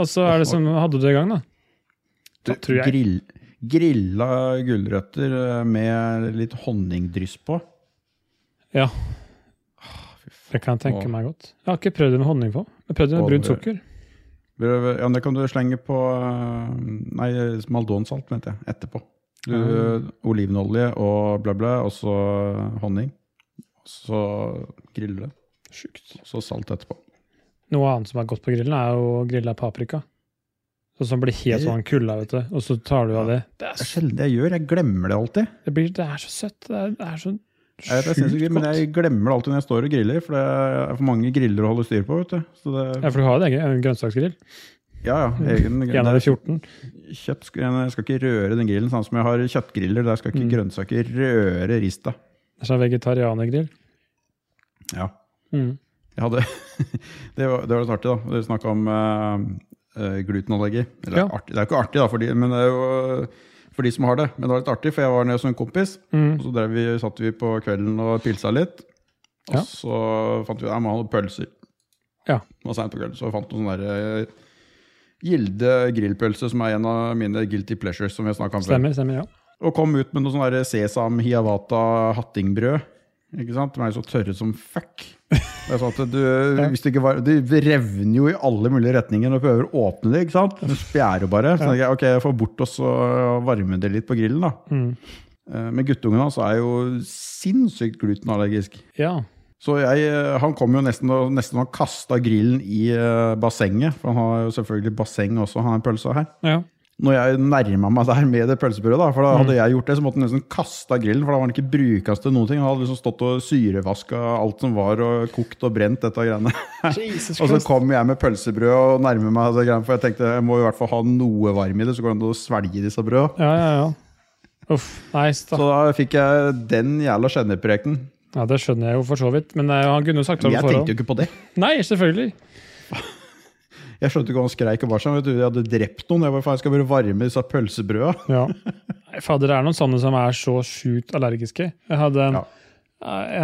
[SPEAKER 2] og så er det som Hadde du det i gang, da?
[SPEAKER 1] Du,
[SPEAKER 2] Da tror jeg-
[SPEAKER 1] Grill, grilla gulrøtter eh, med litt honningdryss på.
[SPEAKER 2] Ja.
[SPEAKER 1] Ah, fy faen.
[SPEAKER 2] Det kan jeg tenke
[SPEAKER 1] Åh.
[SPEAKER 2] meg godt. Jeg har ikke prøvd det med honning på. Jeg har prøvd det med
[SPEAKER 1] Åh,
[SPEAKER 2] brunt
[SPEAKER 1] det-
[SPEAKER 2] sukker.
[SPEAKER 1] Prøv- Ja, det kan du slenge på eh, Nei, maldonsalt, mente jeg. Etterpå. Du,
[SPEAKER 2] Mm.
[SPEAKER 1] Olivenolje og bla, bla, og så honning. Så griller du det,
[SPEAKER 2] Sjukt.
[SPEAKER 1] og så salt etterpå.
[SPEAKER 2] Noe annet som er godt på grillen, er jo grilla paprika. Sånn som blir helt
[SPEAKER 1] Det-
[SPEAKER 2] sånn kulda, vet du. Og så tar du av det. Det
[SPEAKER 1] Det
[SPEAKER 2] er,
[SPEAKER 1] er sjelden jeg gjør. Jeg glemmer det alltid.
[SPEAKER 2] det blir, det er så søtt. Det er, det er så
[SPEAKER 1] Jeg, vet, jeg, synes ikke,
[SPEAKER 2] sjukt
[SPEAKER 1] men
[SPEAKER 2] godt.
[SPEAKER 1] jeg glemmer det alltid når jeg står og griller, for det er for mange griller å holde styr på. vet du. Så det,
[SPEAKER 2] Ja, for du har jo det, en grønnsaksgrill.
[SPEAKER 1] ja, ja, egen,
[SPEAKER 2] En av de 14.
[SPEAKER 1] kjøtt, jeg skal ikke røre den grillen, sånn som jeg har kjøttgriller. Der skal ikke
[SPEAKER 2] Mm.
[SPEAKER 1] grønnsaker røre rista.
[SPEAKER 2] Det er sånn vegetarianergrill.
[SPEAKER 1] Ja.
[SPEAKER 2] Mm.
[SPEAKER 1] Jeg hadde, det, var, det var litt artig, da. Dere snakka om eh, eh, glutenallergi. Eller,
[SPEAKER 2] Ja.
[SPEAKER 1] artig, det er jo ikke artig, da, for de, men det er jo eh, for de som har det. Men det var litt artig, for jeg var nede hos en kompis,
[SPEAKER 2] Mm.
[SPEAKER 1] og så drev vi, satt vi på kvelden og pilsa litt. Og
[SPEAKER 2] Ja.
[SPEAKER 1] så fant vi ut at han hadde pølser.
[SPEAKER 2] Ja.
[SPEAKER 1] Det var sent på kvelden, så vi fant noen sånne der, eh, Gilde grillpølse, som er en av mine guilty pleasures. som vi har snakket om før.
[SPEAKER 2] Stemmer, stemmer, ja.
[SPEAKER 1] Og kom ut med noe sånn der sesam hiawata hattingbrød. Ikke sant? De er jo så tørre som fuck. Og Jeg sa at du, hvis du, ikke var, du revner jo i alle mulige retninger når du prøver å åpne det. ikke sant? Du spjærer jo bare. Så tenkte jeg ok, jeg får bort og så varme det litt på grillen. da.
[SPEAKER 2] Mm.
[SPEAKER 1] Eh, Men guttungen hans er jo sinnssykt glutenallergisk.
[SPEAKER 2] Ja,
[SPEAKER 1] Så jeg, eh, han kom jo nesten og nesten og kasta grillen i eh, bassenget. For han har jo selvfølgelig basseng også, han har pølsa her
[SPEAKER 2] ja.
[SPEAKER 1] når jeg nærma meg der med det pølsebrødet, da, for da hadde jeg gjort det, så måtte den nesten kasta grillen, for da var den ikke brukes til noen ting. Han hadde liksom stått og syrevaska alt som var, og kokt og brent dette greiene. og så kom jeg med pølsebrød og nærmer meg det greiene, for jeg tenkte jeg må i hvert fall ha noe varme i det, så går det an å svelge disse brødene.
[SPEAKER 2] Ja, ja, ja. Uff, nei,
[SPEAKER 1] Så
[SPEAKER 2] stakkar.
[SPEAKER 1] da fikk jeg den jævla skjennepreken.
[SPEAKER 2] Ja, det skjønner jeg jo for så vidt, men eh, han kunne jo sagt det
[SPEAKER 1] Men
[SPEAKER 2] på
[SPEAKER 1] jeg tenkte
[SPEAKER 2] forhånd.
[SPEAKER 1] jo ikke på det.
[SPEAKER 2] Nei, selvfølgelig.
[SPEAKER 1] Jeg skjønte ikke hva han skreik og bar seg. Vet du, jeg hadde drept noen. Jeg bare, faen, jeg skal bare varme disse pølsebrøda.
[SPEAKER 2] Ja. Nei, Fader, det er noen sånne som er så sjukt allergiske. Jeg hadde en,
[SPEAKER 1] Ja.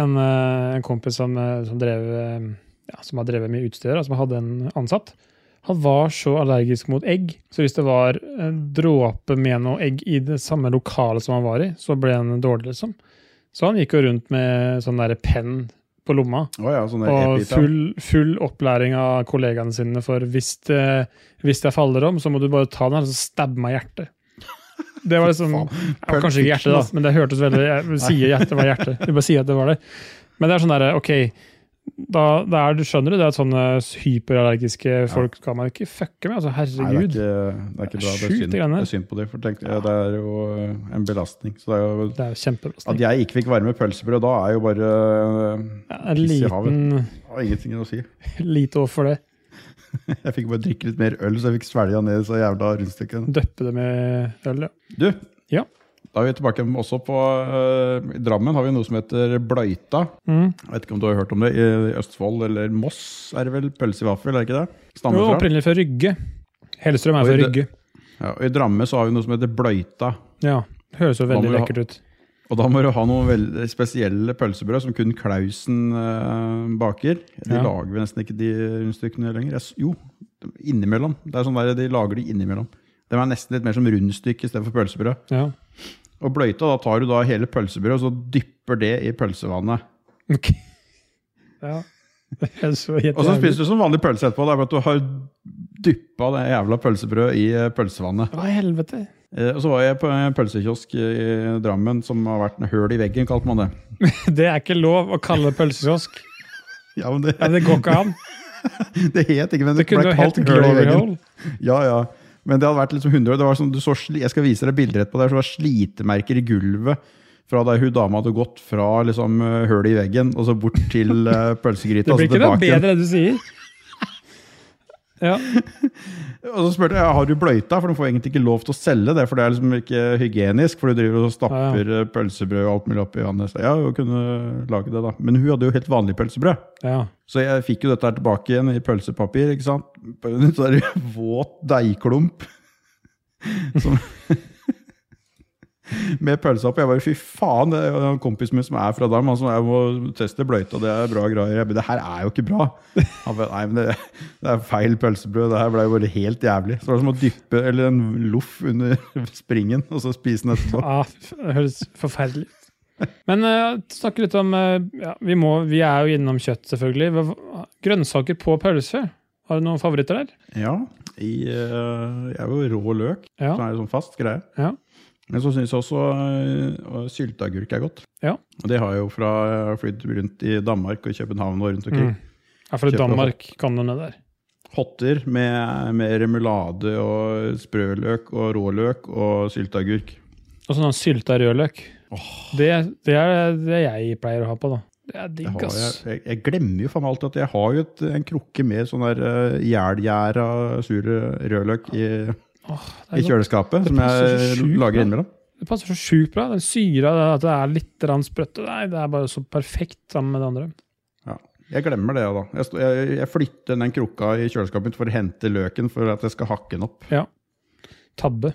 [SPEAKER 2] en, eh, en kompis som, eh, som, drev, eh, ja, som har drevet mye utstyr, som hadde en ansatt. Han var så allergisk mot egg, så hvis det var en dråpe med noe egg i det samme lokalet som han var i, så ble han dårlig, liksom. Så han gikk jo rundt med sånn derre penn på lomma.
[SPEAKER 1] Å ja, sånn der
[SPEAKER 2] Og
[SPEAKER 1] epita.
[SPEAKER 2] full, full opplæring av kollegaene sine for hvis, det, hvis jeg faller om, så må du bare ta den her og så stabbe meg i hjertet. Det var liksom
[SPEAKER 1] Faen.
[SPEAKER 2] ja, Kanskje ikke hjertet, da, men det hørtes veldig Jeg sier hjertet var hjertet. Du bare sier at det var det. Men det er sånn derre, OK da, da er, du skjønner du det at sånne hyperallergiske folk skal man ikke fucke med? Altså,
[SPEAKER 1] Nei,
[SPEAKER 2] herregud.
[SPEAKER 1] det er ikke, det er ikke bra. Det er,
[SPEAKER 2] Sjukt,
[SPEAKER 1] synd,
[SPEAKER 2] det greiene
[SPEAKER 1] det
[SPEAKER 2] der.
[SPEAKER 1] er synd på dem. For tenk, det er jo eh, en belastning. Så det er jo,
[SPEAKER 2] Det er jo
[SPEAKER 1] at
[SPEAKER 2] kjempebelastning.
[SPEAKER 1] jeg ikke fikk varme pølsebrød da, er jo bare eh,
[SPEAKER 2] En
[SPEAKER 1] piss i
[SPEAKER 2] liten
[SPEAKER 1] har ingenting å si.
[SPEAKER 2] lite år for det.
[SPEAKER 1] Jeg fikk bare drikke litt mer øl, så jeg fikk svelga ned disse jævla rundstykkene.
[SPEAKER 2] Døppe det med øl, ja.
[SPEAKER 1] Du,
[SPEAKER 2] Ja.
[SPEAKER 1] da er vi tilbake også på eh, I Drammen har vi noe som heter bløyta.
[SPEAKER 2] Mm.
[SPEAKER 1] Jeg vet ikke om du har hørt om det. I Østfold eller Moss er det vel pølse i vaffel, er det ikke det?
[SPEAKER 2] Det
[SPEAKER 1] Stammer
[SPEAKER 2] var
[SPEAKER 1] fra.
[SPEAKER 2] opprinnelig fra Rygge. Hellstrøm
[SPEAKER 1] Oi,
[SPEAKER 2] er fra
[SPEAKER 1] det-
[SPEAKER 2] Rygge.
[SPEAKER 1] Ja, og I Drammen så har vi noe som heter bløyta.
[SPEAKER 2] Ja, høres jo
[SPEAKER 1] Hva
[SPEAKER 2] veldig
[SPEAKER 1] må vi ha?
[SPEAKER 2] lekkert ut.
[SPEAKER 1] Og da må du ha noen veldig spesielle pølsebrød som kun Klausen eh, baker. De
[SPEAKER 2] Ja.
[SPEAKER 1] lager vi nesten ikke de rundstykkene lenger. Jeg s- Jo, innimellom. Det er sånn der, de lager de innimellom. De er nesten litt mer som rundstykke istedenfor pølsebrød.
[SPEAKER 2] Ja.
[SPEAKER 1] Og bløyta, da tar du da hele pølsebrødet og så dypper det i pølsevannet.
[SPEAKER 2] Ok. ja. Det er så helt
[SPEAKER 1] Og så
[SPEAKER 2] jævlig.
[SPEAKER 1] spiser du som vanlig pølse etterpå. Det er bare at du har dyppa det jævla pølsebrødet i eh, pølsevannet.
[SPEAKER 2] Hva i helvete?
[SPEAKER 1] Eh, Og så var jeg på en pølsekiosk i Drammen som har vært en høl i veggen, kalte man det.
[SPEAKER 2] Det er ikke lov å kalle det pølsekiosk.
[SPEAKER 1] Ja, men det,
[SPEAKER 2] Ja, det går ikke an.
[SPEAKER 1] det het ikke, men det,
[SPEAKER 2] Det kunne
[SPEAKER 1] ble
[SPEAKER 2] jo
[SPEAKER 1] kalt
[SPEAKER 2] hett
[SPEAKER 1] høl i
[SPEAKER 2] Glory
[SPEAKER 1] veggen.
[SPEAKER 2] Hole.
[SPEAKER 1] Ja, ja. Men det hadde vært liksom 100 år. Det var sånn, du så, sli- jeg skal vise deg bilder etterpå. Det er så slitemerker i gulvet fra da hun dama hadde gått fra liksom, eh, hølet i veggen og så bort til eh, pølsegryta.
[SPEAKER 2] Det
[SPEAKER 1] og så
[SPEAKER 2] blir ikke noe
[SPEAKER 1] tilbake igjen.
[SPEAKER 2] bedre, det du sier. Ja.
[SPEAKER 1] Og så spurte jeg har du bløyta, for de får egentlig ikke lov til å selge det. For det er liksom ikke hygienisk, for du driver og stapper eh, pølsebrød og alt mulig oppi vannet. Så ja, hun kunne lage det, da. Men hun hadde jo helt vanlig pølsebrød.
[SPEAKER 2] ja.
[SPEAKER 1] Så jeg fikk jo dette her tilbake igjen i pølsepapir, ikke sant? På en sånn der våt deigklump. Som Med pølsa på. Jeg bare fy faen, det er jo en kompis min som er fra Dam, han som jeg må teste bløyta, det er bra greier. Jeg bare, det her er jo ikke bra. Han bare, nei, men det, det er feil pølsebrød, det her ble jo bare helt jævlig. Så det var som å dyppe eller en loff under springen, og så spise den etterpå.
[SPEAKER 2] Ah, f- det høres forferdelig ut. Men uh, snakke litt om eh, ja, vi, må, vi er jo innom kjøtt, selvfølgelig. Hva- Grønnsaker på pølse. Har du noen favoritter der?
[SPEAKER 1] Ja, i, eh, jeg er jo rå løk,
[SPEAKER 2] Ja.
[SPEAKER 1] så er det sånn fast greie.
[SPEAKER 2] Ja.
[SPEAKER 1] Men så syns jeg også øh, sylteagurk er godt.
[SPEAKER 2] Ja.
[SPEAKER 1] Og det har jeg jo fra jeg har flydd rundt i Danmark og København og rundt omkring.
[SPEAKER 2] Mm. Ja, for
[SPEAKER 1] Kjøper
[SPEAKER 2] Danmark kan du ned der.
[SPEAKER 1] Hotter med, med remulade og sprøløk og råløk og sylteagurk.
[SPEAKER 2] Og sånn sylta rødløk. Det, det er det jeg pleier å ha på, da. Det er
[SPEAKER 1] Det
[SPEAKER 2] digg,
[SPEAKER 1] har jeg,
[SPEAKER 2] ass.
[SPEAKER 1] jeg, jeg glemmer jo faen meg alltid at jeg har jo et, en krukke med sånn der øh, jælgjæra sur eh, rødløk i,
[SPEAKER 2] Åh, det,
[SPEAKER 1] i
[SPEAKER 2] er godt.
[SPEAKER 1] kjøleskapet,
[SPEAKER 2] Det
[SPEAKER 1] som
[SPEAKER 2] passer så
[SPEAKER 1] jeg
[SPEAKER 2] sjukt,
[SPEAKER 1] lager
[SPEAKER 2] da.
[SPEAKER 1] innimellom.
[SPEAKER 2] det passer så sjukt bra. Den syra, det at det er litt rann sprøtt Nei, det er bare så perfekt sammen med det andre.
[SPEAKER 1] Ja. Jeg glemmer det, da. Jeg, sto- jeg, jeg flytter den krukka i kjøleskapet mitt for å hente løken for at jeg skal hakke den opp.
[SPEAKER 2] Tabbe.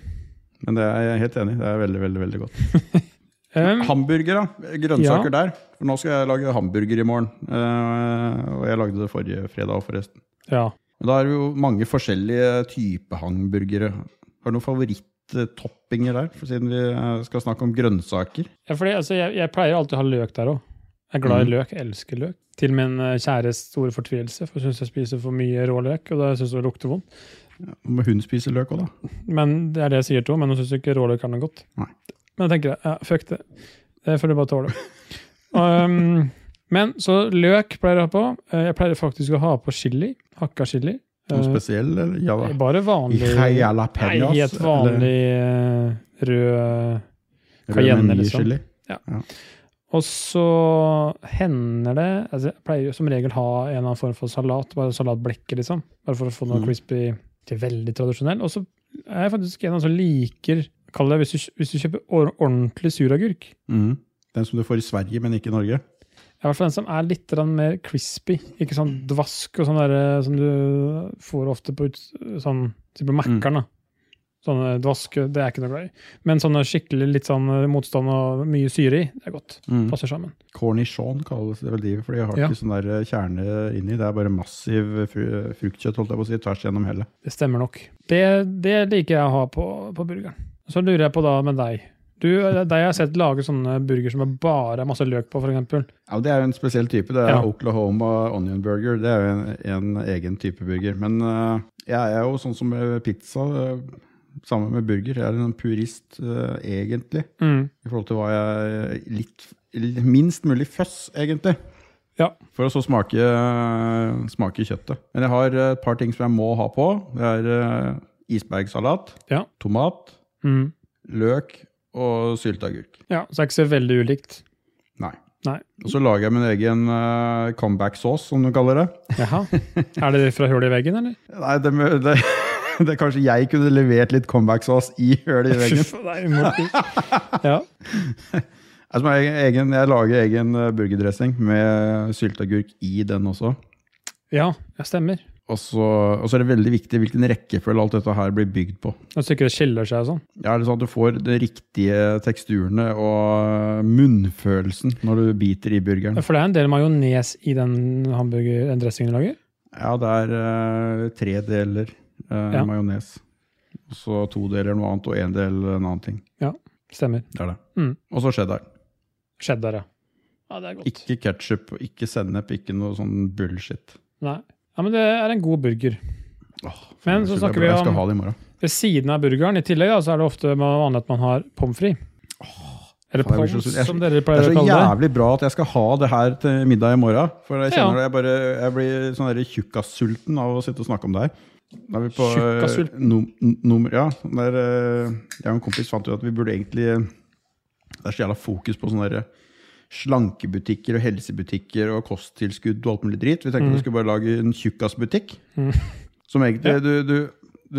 [SPEAKER 1] Men det er jeg helt enig i. Det er veldig, veldig, veldig godt.
[SPEAKER 2] Um,
[SPEAKER 1] Hamburger, da. Grønnsaker der. For nå skal jeg lage hamburger i morgen. Eh, og jeg lagde det forrige fredag også, forresten.
[SPEAKER 2] ja.
[SPEAKER 1] Men da er det jo mange forskjellige typer hamburgere. Har du noen favorittoppinger der, for siden vi eh, skal snakke om grønnsaker?
[SPEAKER 2] Ja, fordi, altså, jeg, jeg pleier alltid å ha løk der òg. Jeg er glad
[SPEAKER 1] Mm.
[SPEAKER 2] i løk. Jeg elsker løk. Til min eh, kjæres store fortvilelse, for hun syns jeg spiser for mye rå løk. Og det syns hun lukter vondt.
[SPEAKER 1] Må hun spise løk òg, da?
[SPEAKER 2] Men det er det jeg sier til henne, men hun syns ikke rå løk er noe godt.
[SPEAKER 1] Nei.
[SPEAKER 2] Men jeg tenker ja, fuck det. Det får du bare tåle. um, men så løk pleier jeg å ha på. Eh, Jeg pleier faktisk å ha på chili. Hakka chili.
[SPEAKER 1] Noe
[SPEAKER 2] Eh,
[SPEAKER 1] spesiell, eller? Ja da.
[SPEAKER 2] Bare vanlig Nei,
[SPEAKER 1] Jalapeños?
[SPEAKER 2] helt vanlig eh, rød cayenne, liksom. Og så hender det altså Jeg pleier jo som regel ha en eller annen form for salat, bare salatblekker, liksom. Bare for å få noe
[SPEAKER 1] Mhm.
[SPEAKER 2] crispy. Til veldig tradisjonell. Og så er jeg faktisk en av de som liker Kall det hvis du, hvis du kjøper or- ordentlig suragurk.
[SPEAKER 1] Mm. Den som du får i Sverige, men ikke i Norge?
[SPEAKER 2] I hvert fall den som er litt grann mer crispy. Ikke sånn dvask og sånn der, eh, som du får ofte på ut, sånn, type Mækkern. da. Sånne dvaske, det er jeg ikke noe glad i. Men sånne skikkelig litt sånn eh, motstand og mye syre i, det er godt.
[SPEAKER 1] Mm.
[SPEAKER 2] Passer sammen.
[SPEAKER 1] Cornichon kalles det vel de, for de har
[SPEAKER 2] Ja.
[SPEAKER 1] ikke sånn der kjerne inni. Det er bare massiv eh, fru- fruktkjøtt, holdt jeg på å si, tvers gjennom hele.
[SPEAKER 2] Det stemmer nok. Det, det liker jeg å ha på, på burgeren. Så lurer jeg på da med deg. Du, det er deg jeg har sett lage sånne burger som er bare er masse løk på, f.eks.
[SPEAKER 1] Ja, Det er jo en spesiell type. Det er
[SPEAKER 2] Ja.
[SPEAKER 1] Oklahoma onion burger. Det er jo en, en egen type burger. Men eh, jeg er jo sånn som med pizza, eh, sammen med burger. Jeg er en purist, eh, egentlig.
[SPEAKER 2] Mm.
[SPEAKER 1] I forhold til hva jeg litt, Minst mulig føss, egentlig.
[SPEAKER 2] Ja.
[SPEAKER 1] For å så smake, eh, smake kjøttet. Men jeg har eh, et par ting som jeg må ha på. Det er eh, isbergsalat,
[SPEAKER 2] Ja.
[SPEAKER 1] tomat,
[SPEAKER 2] Mm.
[SPEAKER 1] løk og sylteagurk.
[SPEAKER 2] ja. Så det er ikke så veldig ulikt.
[SPEAKER 1] Nei.
[SPEAKER 2] Nei.
[SPEAKER 1] Og så lager jeg min egen eh, comeback-sauce, som de kaller det.
[SPEAKER 2] Jaha. Er det fra hullet i veggen, eller?
[SPEAKER 1] Nei, det, må- det, det er kanskje jeg kunne levert litt comebacks-sauce i hølet i veggen.
[SPEAKER 2] Fy faen, det er imot. Ja.
[SPEAKER 1] Altså, jeg, egen, jeg lager egen eh, burgerdressing med sylteagurk i den også.
[SPEAKER 2] ja, jeg stemmer.
[SPEAKER 1] Og så, og så er det veldig viktig hvilken rekkefølge alt dette her blir bygd på.
[SPEAKER 2] Og så ikke det skiller seg og sånn.
[SPEAKER 1] Ja, eller sånn at Du får de riktige teksturene og eh, munnfølelsen når du biter i burgeren.
[SPEAKER 2] For det er en del majones i den hamburger, den dressingen du lager.
[SPEAKER 1] Ja, det er eh, tre deler eh,
[SPEAKER 2] Ja.
[SPEAKER 1] majones. Og så to deler noe annet, og én del eh, en annen ting.
[SPEAKER 2] Stemmer.
[SPEAKER 1] Det er det.
[SPEAKER 2] Mm.
[SPEAKER 1] Og så cheddar.
[SPEAKER 2] Cheddar, ja. Ja, det er godt.
[SPEAKER 1] Ikke ketsjup, ikke sennep, ikke noe sånn bullshit.
[SPEAKER 2] Nei. Ja, men det er en god burger.
[SPEAKER 1] Åh,
[SPEAKER 2] Men så
[SPEAKER 1] jeg
[SPEAKER 2] snakker
[SPEAKER 1] skal-
[SPEAKER 2] vi
[SPEAKER 1] Jeg skal
[SPEAKER 2] om-
[SPEAKER 1] ha det i morgen.
[SPEAKER 2] Ved siden av burgeren i tillegg da, så er det ofte vanlig at man har pommes frites.
[SPEAKER 1] faen, jeg blir
[SPEAKER 2] Eller pommes,
[SPEAKER 1] så sulten. Jeg-
[SPEAKER 2] som dere
[SPEAKER 1] Det
[SPEAKER 2] pleier
[SPEAKER 1] er
[SPEAKER 2] å
[SPEAKER 1] så
[SPEAKER 2] kalle det.
[SPEAKER 1] jævlig bra at jeg skal ha det her til middag i morgen. For jeg
[SPEAKER 2] Ja.
[SPEAKER 1] kjenner det, jeg, bare, jeg blir sånn der tjukkassulten av å sitte og snakke om det her. Da er vi på eh,
[SPEAKER 2] Tjukkassulten?
[SPEAKER 1] num n- nummer, Ja. Der, eh, jeg og en kompis fant ut at vi burde egentlig eh, Det er så jævla fokus på sånne der eh, slankebutikker og helsebutikker og kosttilskudd og alt mulig drit. Vi tenkte vi skulle bare lage en tjukkasbutikk. Som egentlig
[SPEAKER 2] Mhm. Ja.
[SPEAKER 1] Du, du,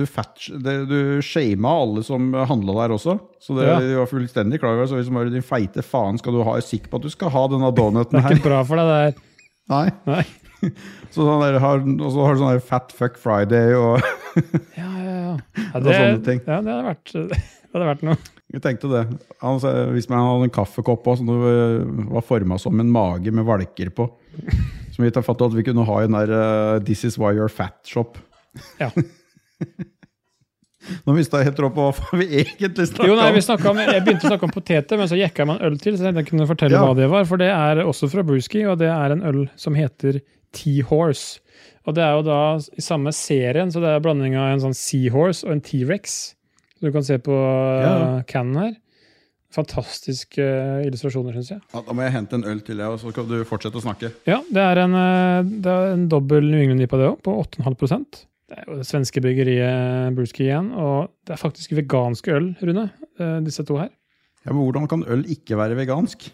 [SPEAKER 1] du, fat, det, du shama alle som handla der også. Så det
[SPEAKER 2] Ja.
[SPEAKER 1] de var fullstendig klar over det. Så hvis de bare din feite faen skal du ha, er du sikker på at du skal ha denne donuten her?
[SPEAKER 2] Ikke bra for deg, det der.
[SPEAKER 1] Nei.
[SPEAKER 2] Nei.
[SPEAKER 1] Så sånn der, har, og så har du sånn der Fat Fuck Friday og
[SPEAKER 2] Ja, ja, ja. ja
[SPEAKER 1] Og
[SPEAKER 2] det,
[SPEAKER 1] sånne ting.
[SPEAKER 2] Ja, det hadde vært, det hadde vært noe.
[SPEAKER 1] Jeg tenkte det. Han sa, hvis man hadde en kaffekopp også, som det var forma som en mage med valker på. Som vi ikke har fattet at vi kunne ha i den der eh, This is why you're fat-shop.
[SPEAKER 2] Ja.
[SPEAKER 1] Nå mista jeg helt tråd på hva vi egentlig snakka
[SPEAKER 2] Jo, nei, vi
[SPEAKER 1] om.
[SPEAKER 2] snakket om, Jeg begynte å snakke om poteter, men så jekka jeg meg en øl til. Så jeg tenkte jeg kunne fortelle
[SPEAKER 1] Ja.
[SPEAKER 2] hva det var, for det er også fra Brewski, og det er en øl som heter T-Horse. Og det er jo da i samme serien, så det er blanding av en sånn Seahorse og en T-Rex. Så du kan se på
[SPEAKER 1] Ja.
[SPEAKER 2] eh, cannen her. Fantastiske eh, illustrasjoner, syns jeg.
[SPEAKER 1] Ja, da må jeg hente en øl til, jeg, og så skal du fortsette å snakke.
[SPEAKER 2] Ja, det er en, eh, det er en dobbel New England IPA, det òg, på 8,5 Det er jo det svenske bryggeriet eh, Brewski igjen, og det er faktisk vegansk øl, Rune, eh, disse to her.
[SPEAKER 1] Ja, men Hvordan kan øl ikke være vegansk?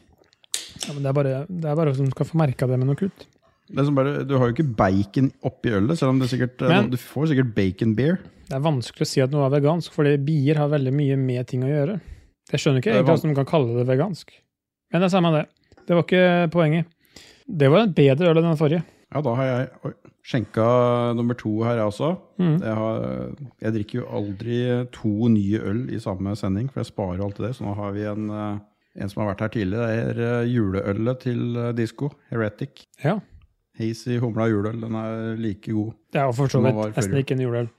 [SPEAKER 2] Ja, men det er bare, det er bare som skal få merka det med noe kult.
[SPEAKER 1] Det er som bare, du har jo ikke bacon oppi ølet, selv om det sikkert, eh,
[SPEAKER 2] Men-
[SPEAKER 1] du får sikkert bacon beer.
[SPEAKER 2] Det er vanskelig å si at noe er vegansk, fordi bier har veldig mye med ting å gjøre. Jeg skjønner
[SPEAKER 1] Det
[SPEAKER 2] ikke
[SPEAKER 1] er
[SPEAKER 2] egentlig hvordan de kan kalle det vegansk. Men det er samme det. Det var ikke poenget. Det var en bedre øl enn den forrige.
[SPEAKER 1] Ja, da har jeg oi, skjenka nummer to her, jeg også.
[SPEAKER 2] Mhm.
[SPEAKER 1] Jeg, har, jeg drikker jo aldri to nye øl i samme sending, for jeg sparer alltid det. Så nå har vi en, eh, en som har vært her tidligere. Det er eh, juleølet til disko. Heretic.
[SPEAKER 2] Ja,
[SPEAKER 1] Hazy humla juleøl. Den er like god.
[SPEAKER 2] Det er jo for så
[SPEAKER 1] Den var
[SPEAKER 2] vidt nesten
[SPEAKER 1] forrige.
[SPEAKER 2] ikke en juleøl.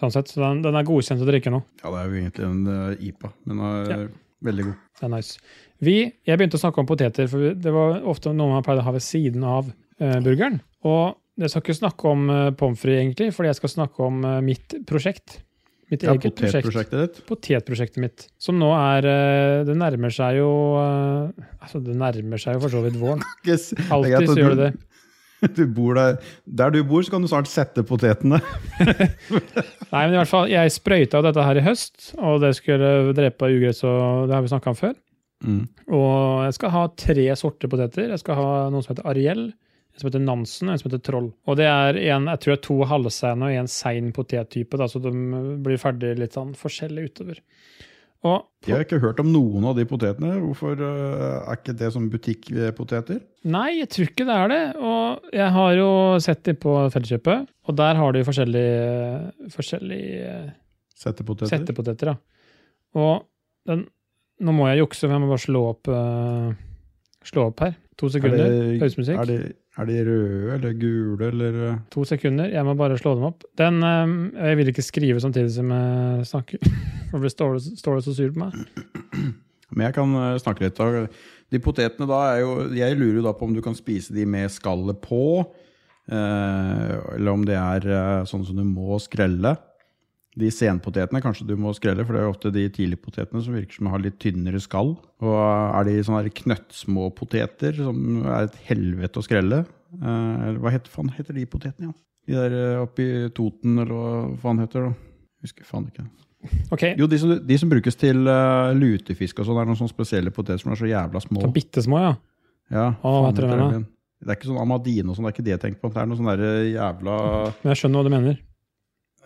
[SPEAKER 2] Sånn sett, så den, den er godkjent å drikke nå.
[SPEAKER 1] Ja, det er jo egentlig en eh, IPA, men den er veldig god.
[SPEAKER 2] Det er nice. Vi, jeg begynte å snakke om poteter, for det var ofte noe man pleide å ha ved siden av eh, burgeren. Og jeg skal ikke snakke om eh, pommes frites, egentlig, fordi jeg skal snakke om eh, mitt prosjekt. Mitt
[SPEAKER 1] Ja,
[SPEAKER 2] eget prosjekt.
[SPEAKER 1] Potetprosjektet ditt.
[SPEAKER 2] potetprosjektet mitt, som nå er eh, Det nærmer seg jo eh, Altså, det nærmer seg jo for så vidt våren.
[SPEAKER 1] Yes. er greit
[SPEAKER 2] Alltid
[SPEAKER 1] at
[SPEAKER 2] så
[SPEAKER 1] du-
[SPEAKER 2] gjør det det.
[SPEAKER 1] Du bor der, der du bor, så kan du snart sette potetene.
[SPEAKER 2] Nei, men i hvert fall, jeg sprøyta jo dette her i høst, og det skulle drepe ugress, og det har vi snakka om før. Og jeg skal ha tre sorter poteter. Jeg skal ha noen som heter Ariel, en som heter Nansen, og en som heter Troll. Og det er en, jeg tror det er to halvseine og en sein potettype, da, så de blir ferdig litt sånn forskjellig utover. Og
[SPEAKER 1] Jeg har ikke hørt om noen av de potetene. Hvorfor øh, er ikke det som butikkpoteter?
[SPEAKER 2] Nei, jeg tror ikke det er det. Og jeg har jo sett de på Felleskjøpet, og der har de jo forskjellige, forskjellige
[SPEAKER 1] Settepoteter?
[SPEAKER 2] settepoteter. Da. Og den, nå må jeg jukse, men jeg må bare slå opp, eh, slå opp her. To
[SPEAKER 1] er,
[SPEAKER 2] sekunder.
[SPEAKER 1] det,
[SPEAKER 2] Pausemusikk.
[SPEAKER 1] er, de, er de røde eller gule eller øh,
[SPEAKER 2] To sekunder. Jeg må bare slå dem opp. Den, eh, jeg vil ikke skrive samtidig som jeg snakker, for det står, står det så sur på meg.
[SPEAKER 1] Men jeg kan øh, snakke litt. da. De potetene da er jo Jeg lurer jo da på om du kan spise de med skallet på, øh, eller om det er øh, sånn som du må skrelle. De senpotetene kanskje du må skrelle, for det er jo ofte de tidligpotetene som virker som de har litt tynnere skall. Og eh, er de sånne her knøttsmå poteter som er et helvete å skrelle? Eh, Eller hva heter, faen heter de potetene, ja? De der eh, oppe i Toten, eller hva faen heter det? da? Husker faen ikke.
[SPEAKER 2] Ok,
[SPEAKER 1] Jo, de som, de som brukes til eh, lutefisk og sånn, er noen sånne spesielle poteter som er så jævla små.
[SPEAKER 2] så bittesmå, ja.
[SPEAKER 1] Ja,
[SPEAKER 2] hva
[SPEAKER 1] faen heter
[SPEAKER 2] heter den da?
[SPEAKER 1] den igjen? Det er ikke sånn amadine og sånn, det er ikke det jeg tenker på. Det er noe sånn der jævla
[SPEAKER 2] Men jeg skjønner hva du mener.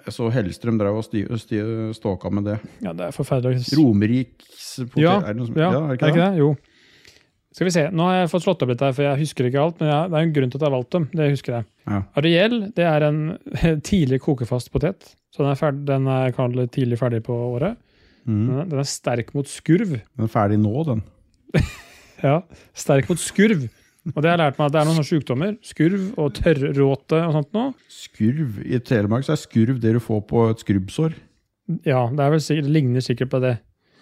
[SPEAKER 1] Jeg så Hellstrøm drev og sti- sti- stalka med det.
[SPEAKER 2] Ja, det er forferdelig.
[SPEAKER 1] Romeriks potet
[SPEAKER 2] Ja,
[SPEAKER 1] er det noe som,
[SPEAKER 2] Ja,
[SPEAKER 1] ja, er det ikke det?
[SPEAKER 2] det? Jo. Skal vi se, Nå har jeg fått slått opp litt her, for jeg husker ikke alt. Men jeg, det er en grunn til at jeg har valgt dem. det husker jeg.
[SPEAKER 1] Ja.
[SPEAKER 2] Ariel det er en tidlig kokefast potet. Så den er, ferd, den er kall det tidlig ferdig på året.
[SPEAKER 1] Mm.
[SPEAKER 2] Den er- Den er sterk mot skurv.
[SPEAKER 1] Den er ferdig nå, den.
[SPEAKER 2] Ja, Sterk mot skurv. Og det har jeg lært meg at det er noen sånne sykdommer. Skurv og tørråte og sånt noe.
[SPEAKER 1] Skurv. I Telemark så er skurv det du får på et skrubbsår.
[SPEAKER 2] Ja, det, er vel sikkert, det ligner sikkert på det.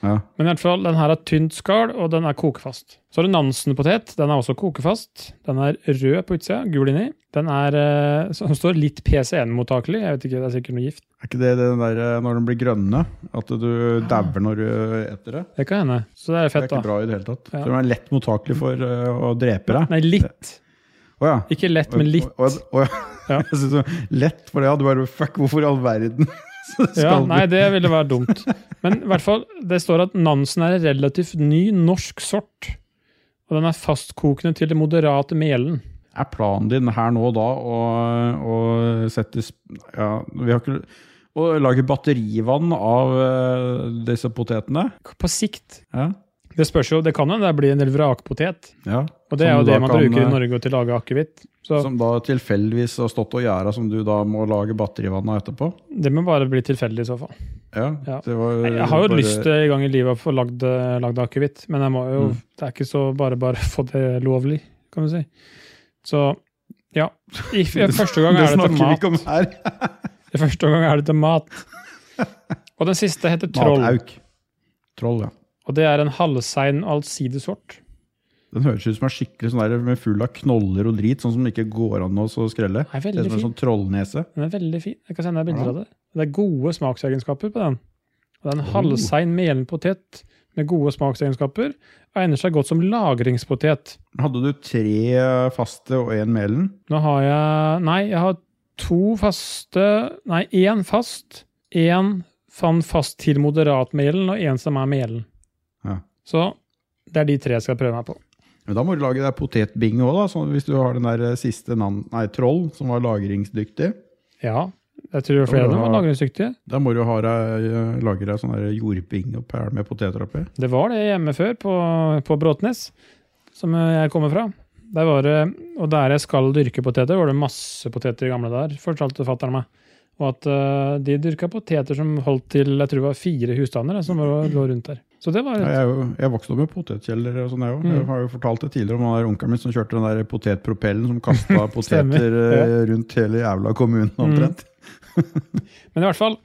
[SPEAKER 1] Ja.
[SPEAKER 2] Men i hvert fall, den her har tynt skall, og den er kokefast. Så har du Nansen-potet. Den er også kokefast. Den er rød på utsida, gul inni. Den er, eh, som står litt PCN-mottakelig. Jeg vet ikke, det er sikkert noe gift.
[SPEAKER 1] Er ikke det den der eh, når den blir grønne? At du dauer når du eh, eter det?
[SPEAKER 2] Det kan hende. Så det
[SPEAKER 1] Det
[SPEAKER 2] er
[SPEAKER 1] er
[SPEAKER 2] fett,
[SPEAKER 1] ikke
[SPEAKER 2] da.
[SPEAKER 1] bra i det hele tatt.
[SPEAKER 2] Ja.
[SPEAKER 1] Så den er lett mottakelig for eh, å drepe deg.
[SPEAKER 2] Nei, litt.
[SPEAKER 1] Å ja.
[SPEAKER 2] Ikke lett, men litt.
[SPEAKER 1] Å, å, å, ja.
[SPEAKER 2] Ja.
[SPEAKER 1] Jeg synes det var lett for det. Ja, du bare fuck, hvorfor i all verden skal
[SPEAKER 2] Ja,
[SPEAKER 1] du-
[SPEAKER 2] nei, det ville være dumt. Men i hvert fall, det står at Nansen er en relativt ny norsk sort. Og den er fastkokende til det moderate melen.
[SPEAKER 1] Er planen din her nå da å, å sette sp- ja, vi har ikke, Å lage batterivann av eh, disse potetene?
[SPEAKER 2] På sikt.
[SPEAKER 1] Ja.
[SPEAKER 2] Det spørs jo, det kan jo det blir en del vrakpotet.
[SPEAKER 1] ja.
[SPEAKER 2] Og det
[SPEAKER 1] Som
[SPEAKER 2] er jo
[SPEAKER 1] du
[SPEAKER 2] det
[SPEAKER 1] da
[SPEAKER 2] man
[SPEAKER 1] kan,
[SPEAKER 2] bruker
[SPEAKER 1] eh,
[SPEAKER 2] i Norge til å lage akevitt. Så
[SPEAKER 1] Som da tilfeldigvis har stått og gjæra, som du da må lage batterivann av etterpå?
[SPEAKER 2] det må bare bli tilfeldig i så fall.
[SPEAKER 1] Ja,
[SPEAKER 2] Ja.
[SPEAKER 1] Det var,
[SPEAKER 2] Nei, Jeg har jo
[SPEAKER 1] bare-
[SPEAKER 2] lyst til en gang i livet å få lagd, eh, lagd akevitt, men jeg må jo,
[SPEAKER 1] Mm.
[SPEAKER 2] det er ikke så bare bare å få det lovlig, kan du si. Så ja. I, f- første gang
[SPEAKER 1] Det
[SPEAKER 2] er det til
[SPEAKER 1] snakker vi
[SPEAKER 2] mat.
[SPEAKER 1] ikke om her.
[SPEAKER 2] I første gang er det til mat. Og den siste heter troll.
[SPEAKER 1] Matauk. Troll, ja.
[SPEAKER 2] Og det er en halvsein allsidesort.
[SPEAKER 1] Den høres ut som er skikkelig sånn der, med full av knoller og drit, sånn som det ikke går an å så skrelle.
[SPEAKER 2] Den
[SPEAKER 1] Det
[SPEAKER 2] er
[SPEAKER 1] er
[SPEAKER 2] veldig
[SPEAKER 1] som en
[SPEAKER 2] fin.
[SPEAKER 1] sånn trollnese.
[SPEAKER 2] Den er veldig fin. Jeg kan sende deg bilder
[SPEAKER 1] Ja.
[SPEAKER 2] av det. Det er gode smaksegenskaper på den. Og det er en
[SPEAKER 1] Oh.
[SPEAKER 2] halvsein melen potet med gode smaksegenskaper. Og egner seg godt som lagringspotet.
[SPEAKER 1] Hadde du tre faste og én melen?
[SPEAKER 2] Nå har jeg Nei, jeg har to faste Nei, én fast. Én fan fast til moderatmelen, og én som er melen.
[SPEAKER 1] Ja.
[SPEAKER 2] Så det er de tre jeg skal prøve meg på.
[SPEAKER 1] Men da må du lage deg potetbinge òg, da. sånn hvis du har den der siste nan nei, troll, som var lagringsdyktig.
[SPEAKER 2] Ja, jeg tror flere av dem var lagringsdyktige.
[SPEAKER 1] Da må du ha deg, eh, lage deg sånn der jordbinge og pæl med poteter oppi.
[SPEAKER 2] Det var det hjemme før, på, på Bråtnes, som jeg kommer fra. Der var det, og der jeg skal dyrke poteter, var det masse poteter i gamle der, fortalte fatter'n meg. Og at eh, de dyrka poteter som holdt til jeg tror det var fire husstander eh, som var, lå rundt der. Så det var
[SPEAKER 1] Ja, jeg, er jo- jeg vokste opp med potetkjeller og sånn, jeg òg. Jeg
[SPEAKER 2] Mm.
[SPEAKER 1] har jo fortalt det tidligere om han der onkelen min som kjørte den der potetpropellen som kasta poteter
[SPEAKER 2] Stemmer,
[SPEAKER 1] eh, rundt hele jævla kommunen omtrent.
[SPEAKER 2] Men i hvert fall,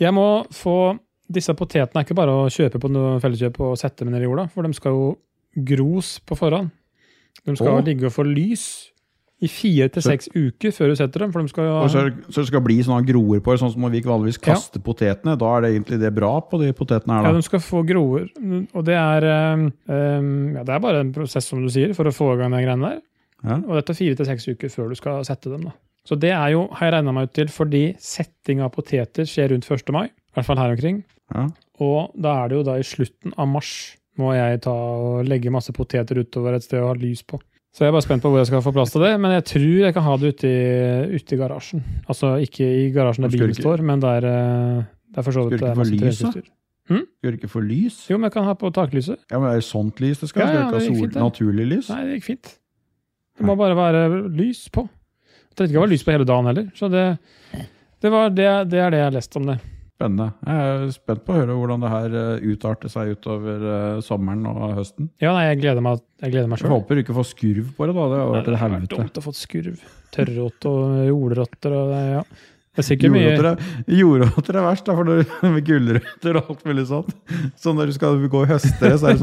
[SPEAKER 2] jeg må få Disse potetene er ikke bare å kjøpe på noe felleskjøp og sette dem ned i jorda, for de skal jo gros på forhånd. De skal
[SPEAKER 1] Å.
[SPEAKER 2] ligge og få lys i fire til
[SPEAKER 1] Så-
[SPEAKER 2] seks uker før du setter dem. for de skal jo...
[SPEAKER 1] Og så, så det skal bli sånne groer på det, sånn som vi ikke vanligvis kaster potetene. Da er det egentlig det bra på de potetene her,
[SPEAKER 2] Ja,
[SPEAKER 1] da.
[SPEAKER 2] de skal få groer. Og det er, ehm, ehm, ja, det er bare en prosess, som du sier, for å få i gang den greien der.
[SPEAKER 1] Ja.
[SPEAKER 2] Og dette er fire til seks uker før du skal sette dem. da. Så det er jo, har jeg regna meg ut til, fordi setting av poteter skjer rundt 1. mai. I hvert fall her omkring.
[SPEAKER 1] Ja.
[SPEAKER 2] Og da er det jo da i slutten av mars må jeg ta og legge masse poteter utover et sted og ha lys på. Så jeg er bare spent på hvor jeg skal få plass til det, men jeg tror jeg kan ha det ute i, ute i garasjen. Altså ikke i garasjen der
[SPEAKER 1] Skal du
[SPEAKER 2] bilen
[SPEAKER 1] ikke-
[SPEAKER 2] står, men der, eh, der for så
[SPEAKER 1] Skal
[SPEAKER 2] vidt
[SPEAKER 1] du ikke
[SPEAKER 2] det er
[SPEAKER 1] få
[SPEAKER 2] masse
[SPEAKER 1] lys, da?
[SPEAKER 2] treningsutstyr.
[SPEAKER 1] Skal du ikke få lys?
[SPEAKER 2] Jo, men jeg kan ha på taklyset.
[SPEAKER 1] Ja, men er det sånt lys det skal?
[SPEAKER 2] Ja, ja,
[SPEAKER 1] skal du ikke
[SPEAKER 2] det gikk
[SPEAKER 1] ha sol,
[SPEAKER 2] fint, det.
[SPEAKER 1] naturlig lys?
[SPEAKER 2] Nei, det gikk fint. Det må bare være lys på. Jeg tenkte ikke det var lys på hele dagen heller. Så det, det, var det, det er det jeg har lest om det.
[SPEAKER 1] Spennende. Jeg er spent på å høre hvordan det her eh, utarter seg utover eh, sommeren og høsten.
[SPEAKER 2] Ja, nei, jeg gleder meg, jeg gleder meg
[SPEAKER 1] Jeg
[SPEAKER 2] sjøl.
[SPEAKER 1] håper du ikke får skurv på det, da. Det hadde vært et helvete.
[SPEAKER 2] dumt å få skurv. Tørrrot og eh, jordrotter og det, ja. Det er sikkert mye
[SPEAKER 1] Jordrotter er, jordrotter er verst, da, for når, med gulrøtter og alt mulig sånt. Så når du skal gå og høste det, så er det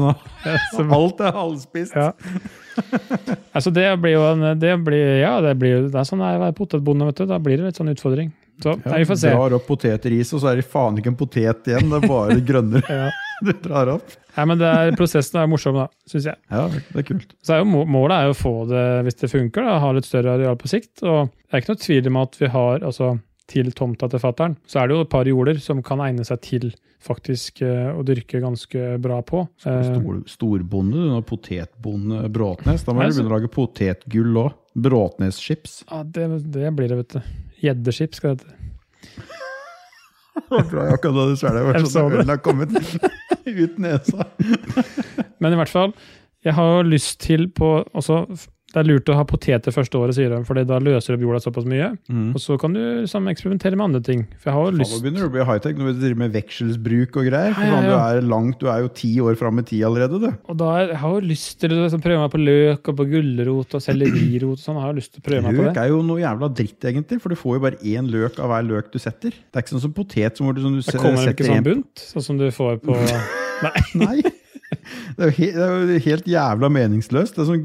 [SPEAKER 1] sånn at alt er halvspist.
[SPEAKER 2] Ja. Altså, det blir jo en Det blir Ja, det blir jo Det er sånn det er å være potetbonde, vet du. Da blir det litt sånn utfordring. Så
[SPEAKER 1] Ja,
[SPEAKER 2] nei, vi får se.
[SPEAKER 1] Drar opp poteter i is, og så er det faen ikke en potet igjen. Det er bare grønne
[SPEAKER 2] Ja.
[SPEAKER 1] du drar opp.
[SPEAKER 2] Nei, men det er, prosessen er morsom, da, syns jeg.
[SPEAKER 1] Ja, det er kult.
[SPEAKER 2] Så er jo, må- målet er jo å få det, hvis det funker, da, ha litt større areal på sikt. Og det er ikke noe tvil om at vi har, altså til tomta til fattern, så er det jo et par jorder som kan egne seg til faktisk eh, å dyrke ganske bra på. Eh,
[SPEAKER 1] Stor, storbonde, du. nå, Potetbonde Bråtnes. Da må
[SPEAKER 2] Nei,
[SPEAKER 1] du
[SPEAKER 2] så-
[SPEAKER 1] begynne å lage potetgull òg. Bråtneschips.
[SPEAKER 2] ja, det, det blir det, vet du. Gjeddeskip skal det hete.
[SPEAKER 1] Jeg tror jeg akkurat hadde svelget
[SPEAKER 2] Jeg
[SPEAKER 1] hvert
[SPEAKER 2] så
[SPEAKER 1] sånn
[SPEAKER 2] det.
[SPEAKER 1] ølen har kommet ut nesa.
[SPEAKER 2] Men i hvert fall, Jeg har jo lyst til på også, Det er lurt å ha poteter første året, sier de, for da løser opp jorda såpass mye.
[SPEAKER 1] Mm.
[SPEAKER 2] Og så kan du liksom, eksperimentere med andre ting. For jeg har jo
[SPEAKER 1] Faen,
[SPEAKER 2] lyst
[SPEAKER 1] Nå begynner du å bli high-tech når du driver med vekselsbruk og greier. For
[SPEAKER 2] Ja, ja,
[SPEAKER 1] faen,
[SPEAKER 2] ja.
[SPEAKER 1] Du er langt, du er jo ti år fram i tid allerede, du.
[SPEAKER 2] Og da er, jeg har jo lyst til å liksom, prøve meg på løk og på gulrot og sellerirot og sånn. Jeg har jo lyst til å prøve meg på
[SPEAKER 1] Løk
[SPEAKER 2] det.
[SPEAKER 1] er jo noe jævla dritt, egentlig. For du får jo bare én løk av hver løk du setter. Det er ikke sånn som potet som hvor du, som du se-
[SPEAKER 2] Da kommer det ikke
[SPEAKER 1] setter
[SPEAKER 2] sånn
[SPEAKER 1] en
[SPEAKER 2] bunt, sånn som du får på
[SPEAKER 1] Nei. Det er, jo he, det er jo helt jævla meningsløst. Det er sånn,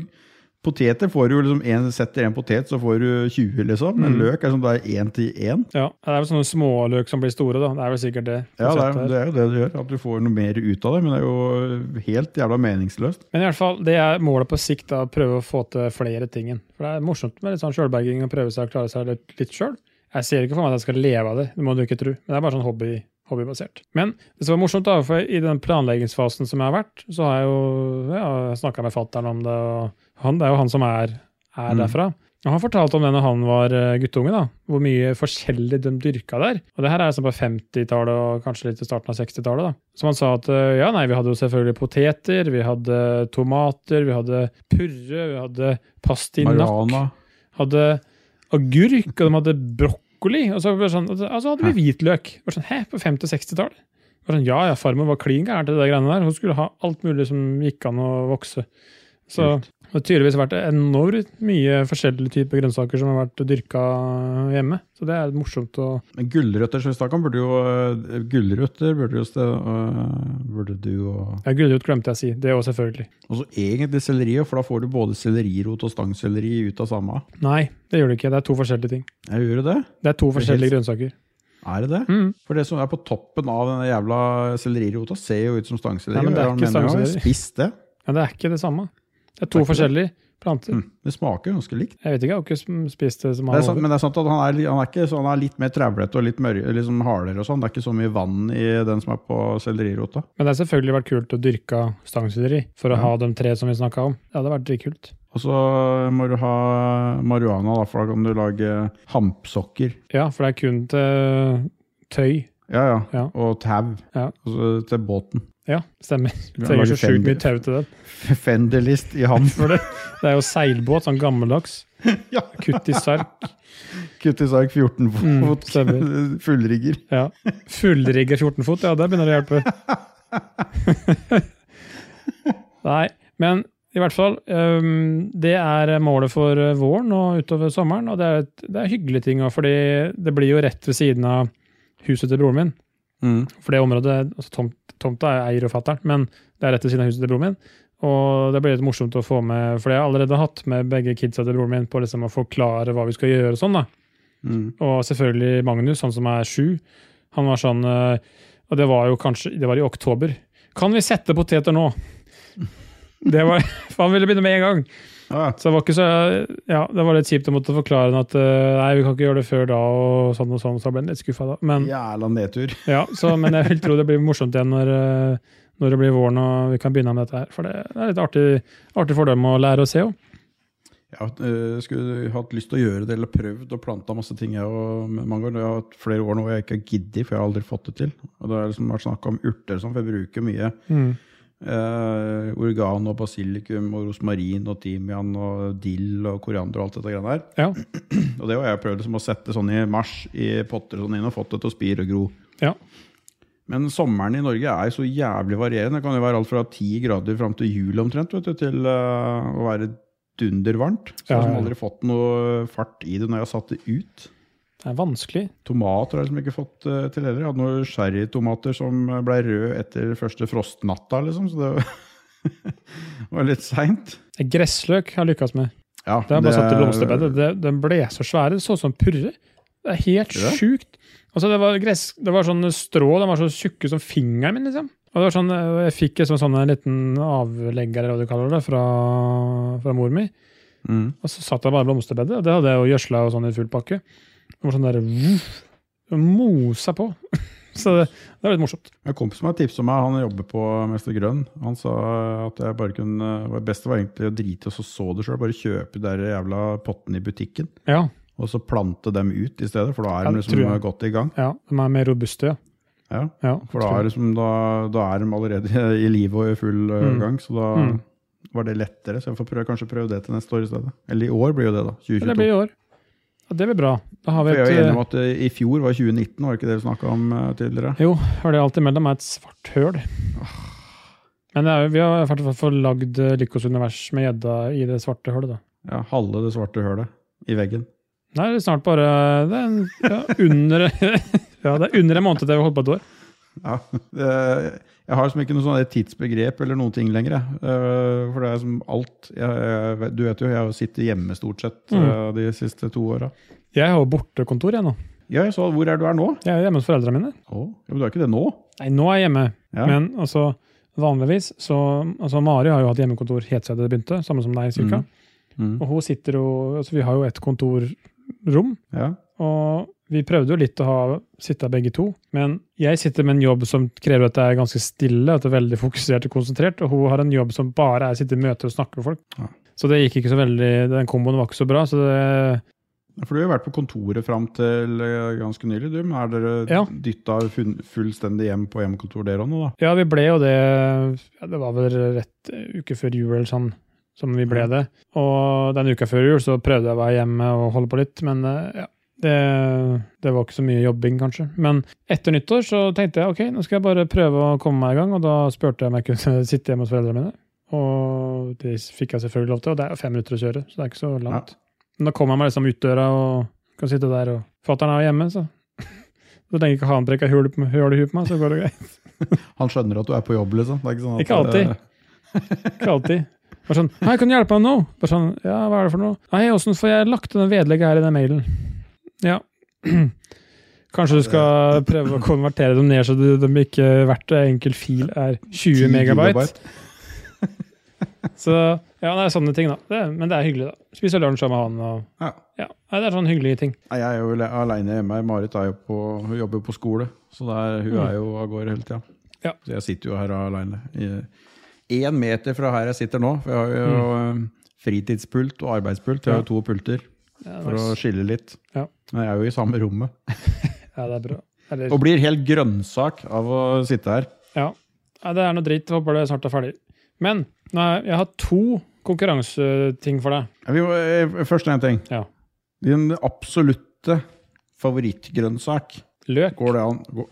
[SPEAKER 1] poteter får du jo liksom en, Setter en potet, så får du 20, liksom. Men
[SPEAKER 2] Mm.
[SPEAKER 1] løk er sånn det er én til én.
[SPEAKER 2] Ja, det er vel sånne småløk som blir store, da. Det er vel sikkert det.
[SPEAKER 1] Ja, det er,
[SPEAKER 2] konseptet her.
[SPEAKER 1] det er jo det du gjør. At du får noe mer ut av det. Men det er jo helt jævla meningsløst.
[SPEAKER 2] Men i hvert fall, det er målet på sikt, da, å prøve å få til flere ting. For det er morsomt med litt sånn sjølberging og prøve seg å klare seg litt, litt sjøl. Jeg ser ikke for meg at jeg skal leve av det, det må du ikke tro. Men det er bare sånn hobby, hobbybasert. Men det som var morsomt, da, for i den planleggingsfasen som jeg har vært, så har jeg jo ja, snakka med fattern om det, og han, det er jo han som er, er
[SPEAKER 1] Mm.
[SPEAKER 2] derfra. Og Han fortalte om det når han var eh, guttunge, da, hvor mye forskjellig de dyrka der. Og det her er sånn på 50-tallet og kanskje litt i starten av 60-tallet. da. Som han sa at eh, ja, nei, vi hadde jo selvfølgelig poteter, vi hadde tomater, vi hadde purre, vi hadde pastinakk,
[SPEAKER 1] Marihuana.
[SPEAKER 2] hadde agurk, og de hadde brokkoli. Og så ble det sånn, og så altså hadde vi hvitløk. Det var sånn, Hæ, på 50- og 60-tallet? Det var Sånn, ja ja, farmor var klin gæren til de greiene der. Hun skulle ha alt mulig som gikk an å vokse. Så...
[SPEAKER 1] Kult.
[SPEAKER 2] Det har tydeligvis vært enormt mye forskjellige typer grønnsaker som har vært dyrka hjemme. Så det er morsomt å
[SPEAKER 1] Men Gulrøtter som vi snakket om, burde jo øh, Gulrøtter burde jo ste- øh, Burde du jo
[SPEAKER 2] Ja, gulrot glemte jeg å si. Det òg, selvfølgelig.
[SPEAKER 1] Og så egentlig selleri, for da får du både sellerirot og stangselleri ut av samme.
[SPEAKER 2] Nei, det gjør det ikke. Det er to forskjellige ting.
[SPEAKER 1] Jeg gjør jo det.
[SPEAKER 2] Det er to forskjellige
[SPEAKER 1] helt-
[SPEAKER 2] grønnsaker.
[SPEAKER 1] Er det det?
[SPEAKER 2] Mm.
[SPEAKER 1] For det som er på toppen av denne jævla sellerirota, ser jo ut som stangselleri.
[SPEAKER 2] Nei, men det er
[SPEAKER 1] og jeg
[SPEAKER 2] ikke
[SPEAKER 1] mener jo,
[SPEAKER 2] stangselleri.
[SPEAKER 1] Spis det.
[SPEAKER 2] Ja, det er ikke det samme. Det er
[SPEAKER 1] Det
[SPEAKER 2] to
[SPEAKER 1] er ikke det.
[SPEAKER 2] forskjellige planter.
[SPEAKER 1] Mm. Det smaker jo ganske likt.
[SPEAKER 2] Jeg vet ikke, jeg har ikke sm- spist det som
[SPEAKER 1] Det er
[SPEAKER 2] han
[SPEAKER 1] sant,
[SPEAKER 2] over.
[SPEAKER 1] men det er sant at han er, han er, ikke, så han er litt mer travlete og litt mør, liksom hardere. og sånn. Det er ikke så mye vann i den som er på sellerirota.
[SPEAKER 2] Men det har selvfølgelig vært kult å dyrke stangselleri for å
[SPEAKER 1] Ja.
[SPEAKER 2] ha de tre som vi snakka om. Det hadde vært dritkult.
[SPEAKER 1] Og så må du ha marihuana, da, for da kan du lage hampsokker.
[SPEAKER 2] Ja, for det er kun til tøy.
[SPEAKER 1] Ja, ja.
[SPEAKER 2] Ja.
[SPEAKER 1] Og tau.
[SPEAKER 2] Ja.
[SPEAKER 1] Og så til båten.
[SPEAKER 2] Ja, stemmer.
[SPEAKER 1] Du kan
[SPEAKER 2] Trenger
[SPEAKER 1] lage
[SPEAKER 2] så sjukt mye
[SPEAKER 1] fender-
[SPEAKER 2] tau til den.
[SPEAKER 1] Fenderlist i hamp.
[SPEAKER 2] For det, det er jo seilbåt, sånn gammeldags.
[SPEAKER 1] Ja.
[SPEAKER 2] Kutt i sark.
[SPEAKER 1] Kutt i sark 14 fot.
[SPEAKER 2] Mm, stemmer.
[SPEAKER 1] Fullrigger.
[SPEAKER 2] Ja. Fullrigger 14 fot, ja, der begynner det å hjelpe. Nei, men i hvert fall, øhm, det er målet for øh, våren og utover sommeren, og det er, et, det er hyggelige ting òg, fordi det blir jo rett ved siden av huset til broren min.
[SPEAKER 1] Mm.
[SPEAKER 2] For det området, altså tomt, tomta er eier og fatter'n, men det er rett ved siden av huset til broren min. Og det blir litt morsomt å få med, for jeg har allerede hatt med begge kidsa til broren min på liksom å forklare hva vi skal gjøre og sånn, da.
[SPEAKER 1] Mm.
[SPEAKER 2] Og selvfølgelig Magnus, han som er sju. Han var sånn eh, Og det var jo kanskje det var i oktober. Kan vi sette poteter nå? Det var, for han ville begynne med en gang.
[SPEAKER 1] Ja,
[SPEAKER 2] Så det var ikke så Ja, det var litt kjipt å måtte forklare han at eh, nei, vi kan ikke gjøre det før da, og sånn og sånn. Så da ble han litt skuffa da. Men, ja.
[SPEAKER 1] Jævla nedtur.
[SPEAKER 2] så, men jeg vil tro det blir morsomt igjen når, eh, når det blir våren og vi kan begynne med dette her. For det er litt artig, artig for dem å lære å se òg.
[SPEAKER 1] Jeg har, eh, skulle hatt lyst til å gjøre det, eller prøvd og planta masse ting. Jeg, og, med mange år, jeg har hatt flere år nå hvor jeg ikke har giddet, for jeg har aldri fått det til. Og Det har liksom vært snakk om urter, og sånn, for jeg bruker mye
[SPEAKER 2] Mm.
[SPEAKER 1] eh, organ og basilikum og rosmarin og timian og dill og koriander og alt dette greiene der.
[SPEAKER 2] Ja.
[SPEAKER 1] Og det har jeg prøvd liksom, å sette sånn i mars i potter og sånn inn og fått det til å spire og gro.
[SPEAKER 2] Ja.
[SPEAKER 1] Men sommeren i Norge er så jævlig varierende. Det kan jo være alt fra 10 grader fram til jul omtrent, vet du, til eh, å være dundervarmt. Så jeg
[SPEAKER 2] Ja,
[SPEAKER 1] har liksom
[SPEAKER 2] ja.
[SPEAKER 1] aldri fått noe fart i det når jeg har satt det ut.
[SPEAKER 2] Det er vanskelig.
[SPEAKER 1] Tomater har jeg liksom ikke fått eh, til heller. Jeg hadde noen sherrytomater som ble røde etter første frostnatta, liksom, så det var litt seint.
[SPEAKER 2] Gressløk har jeg lykkes med.
[SPEAKER 1] Ja,
[SPEAKER 2] Det er bare satt i blomsterbedet. Det, den ble så svære. Det så ut som purre. Det er helt
[SPEAKER 1] Gjør det?
[SPEAKER 2] sjukt. Altså, det var, gress, det var sånne strå, de var så tjukke som fingeren min, liksom. Og det var sånn, eh, jeg fikk en sånn, sånn en liten avlegger, eller hva du kaller det, fra, fra mor mi.
[SPEAKER 1] Mm.
[SPEAKER 2] Og så satt jeg bare i blomsterbedet, og det hadde jeg jo gjødsla og sånn i full pakke. Det var sånn der vuff, det mosa på. Så det, det var litt morsomt.
[SPEAKER 1] En kompis som har tipset meg, han jobber på Mester Grønn. Han sa at jeg bare kunne, det beste var egentlig å drite og så så det sjøl. Bare kjøpe de der jævla pottene i butikken,
[SPEAKER 2] Ja,
[SPEAKER 1] og så plante dem ut i stedet. For da
[SPEAKER 2] Ja,
[SPEAKER 1] er de
[SPEAKER 2] det tror
[SPEAKER 1] liksom
[SPEAKER 2] jeg.
[SPEAKER 1] godt i gang.
[SPEAKER 2] ja, de er mer robuste, ja.
[SPEAKER 1] Ja,
[SPEAKER 2] ja
[SPEAKER 1] for da er, liksom, da, da er de allerede i live og i full eh,
[SPEAKER 2] Mm.
[SPEAKER 1] gang. Så da,
[SPEAKER 2] Mm.
[SPEAKER 1] var det lettere, så jeg får prøve, kanskje prøve det til neste år i stedet. Eller i år blir jo det, da.
[SPEAKER 2] Men det
[SPEAKER 1] 2022.
[SPEAKER 2] blir i år. Ja, det blir bra. Da har vi
[SPEAKER 1] For jeg er jo enig
[SPEAKER 2] et
[SPEAKER 1] om at eh, i fjor var 2019, var det ikke det vi snakka om eh, tidligere?
[SPEAKER 2] Jo, har det alt imellom er et svart høl. Men det er, jo- vi har i hvert fall fått lagd eh, Lykkos univers med gjedda i det svarte hølet, da.
[SPEAKER 1] Ja, Halve det svarte hølet i veggen.
[SPEAKER 2] Nei, det er snart bare det er en, ja, under, ja, det er under en måned til vi har holdt på et år.
[SPEAKER 1] Ja, det, jeg har liksom ikke noe sånn der tidsbegrep eller noen ting lenger. Jeg. Eh, For det er som alt jeg, jeg, vet- Du vet jo, jeg har jo sittet hjemme stort sett
[SPEAKER 2] Mm.
[SPEAKER 1] eh, de siste to åra.
[SPEAKER 2] Jeg har jo bortekontor, jeg nå.
[SPEAKER 1] Ja, jeg så hvor er du er nå?
[SPEAKER 2] Jeg er hjemme hos foreldrene mine.
[SPEAKER 1] Å, ja, men du er ikke det nå?
[SPEAKER 2] Nei, nå er jeg hjemme.
[SPEAKER 1] Ja.
[SPEAKER 2] Men altså, vanligvis så altså, Mari har jo hatt hjemmekontor helt siden det begynte, samme som deg, cirka.
[SPEAKER 1] Mm.
[SPEAKER 2] Og hun sitter jo altså, Vi har jo et kontorrom,
[SPEAKER 1] Ja.
[SPEAKER 2] og vi prøvde jo litt å ha, sitte begge to. Men jeg sitter med en jobb som krever at det er ganske stille, at det er veldig fokusert og konsentrert, og hun har en jobb som bare er å sitte i møter og snakke med folk.
[SPEAKER 1] Ja.
[SPEAKER 2] Så det gikk ikke så veldig, den komboen var ikke så bra. så det...
[SPEAKER 1] For du har jo vært på kontoret fram til eh, ganske nylig, du. Men er dere
[SPEAKER 2] Ja.
[SPEAKER 1] dytta fun- fullstendig hjem på hjemmekontor, dere òg nå, da?
[SPEAKER 2] Ja, vi ble jo det ja, Det var vel rett eh, uke før jul eller sånn som vi ble det. Og den uka før jul så prøvde jeg å være hjemme og holde på litt, men eh, ja. Det, det var ikke så mye jobbing, kanskje. Men etter nyttår så tenkte jeg ok, nå skal jeg bare prøve å komme meg i gang, og da spurte jeg om jeg kunne sitte hjemme hos foreldrene mine. Og det fikk jeg selvfølgelig lov til, og det er jo fem minutter å kjøre, så det er ikke så langt. Men da kom jeg meg liksom ut døra og kan sitte der, og fatter'n er jo hjemme, så Så lenge ikke han brekker hull på- hull i huet på meg, så går det greit.
[SPEAKER 1] Han skjønner at du er på jobb, liksom? Det er ikke, sånn at,
[SPEAKER 2] Ikke alltid.
[SPEAKER 1] eh,
[SPEAKER 2] Ikke alltid. Bare sånn 'Hei, kan du hjelpe meg nå?' Bare sånn 'Ja, hva er det for noe?' 'Nei, åssen får jeg lagt denne vedlegget her i den mailen?' Ja. Kanskje du skal prøve å konvertere dem ned, så de, de ikke hvert enkelt fil er 20
[SPEAKER 1] 10
[SPEAKER 2] megabyte.
[SPEAKER 1] gigabyte.
[SPEAKER 2] Så ja, det er sånne ting, da. Det, men det er hyggelig, da. Spise lunsj sammen med han og
[SPEAKER 1] Ja.
[SPEAKER 2] Ja, Nei, det er sånne hyggelige ting.
[SPEAKER 1] Nei, Jeg er jo le- alene hjemme. Marit er jo på, hun jobber jo på skole, så der, hun
[SPEAKER 2] Mm.
[SPEAKER 1] er jo av gårde hele tida.
[SPEAKER 2] Ja.
[SPEAKER 1] Så jeg sitter jo her aleine. Én meter fra her jeg sitter nå, for jeg har jo
[SPEAKER 2] Mm.
[SPEAKER 1] eh, fritidspult og arbeidspult. Jeg har jo to pulter
[SPEAKER 2] Ja,
[SPEAKER 1] for å
[SPEAKER 2] nice.
[SPEAKER 1] skille litt.
[SPEAKER 2] Ja.
[SPEAKER 1] Men jeg er jo i samme rommet.
[SPEAKER 2] ja det er bra. Eller,
[SPEAKER 1] Og blir helt grønnsak av å sitte her.
[SPEAKER 2] Ja. Nei, det er noe dritt. Håper det snart er ferdig. Men nei, jeg har to konkurranseting for deg.
[SPEAKER 1] Vi må, eh, først én ting.
[SPEAKER 2] Ja.
[SPEAKER 1] Din absolutte favorittgrønnsak.
[SPEAKER 2] Løk.
[SPEAKER 1] Går det an går,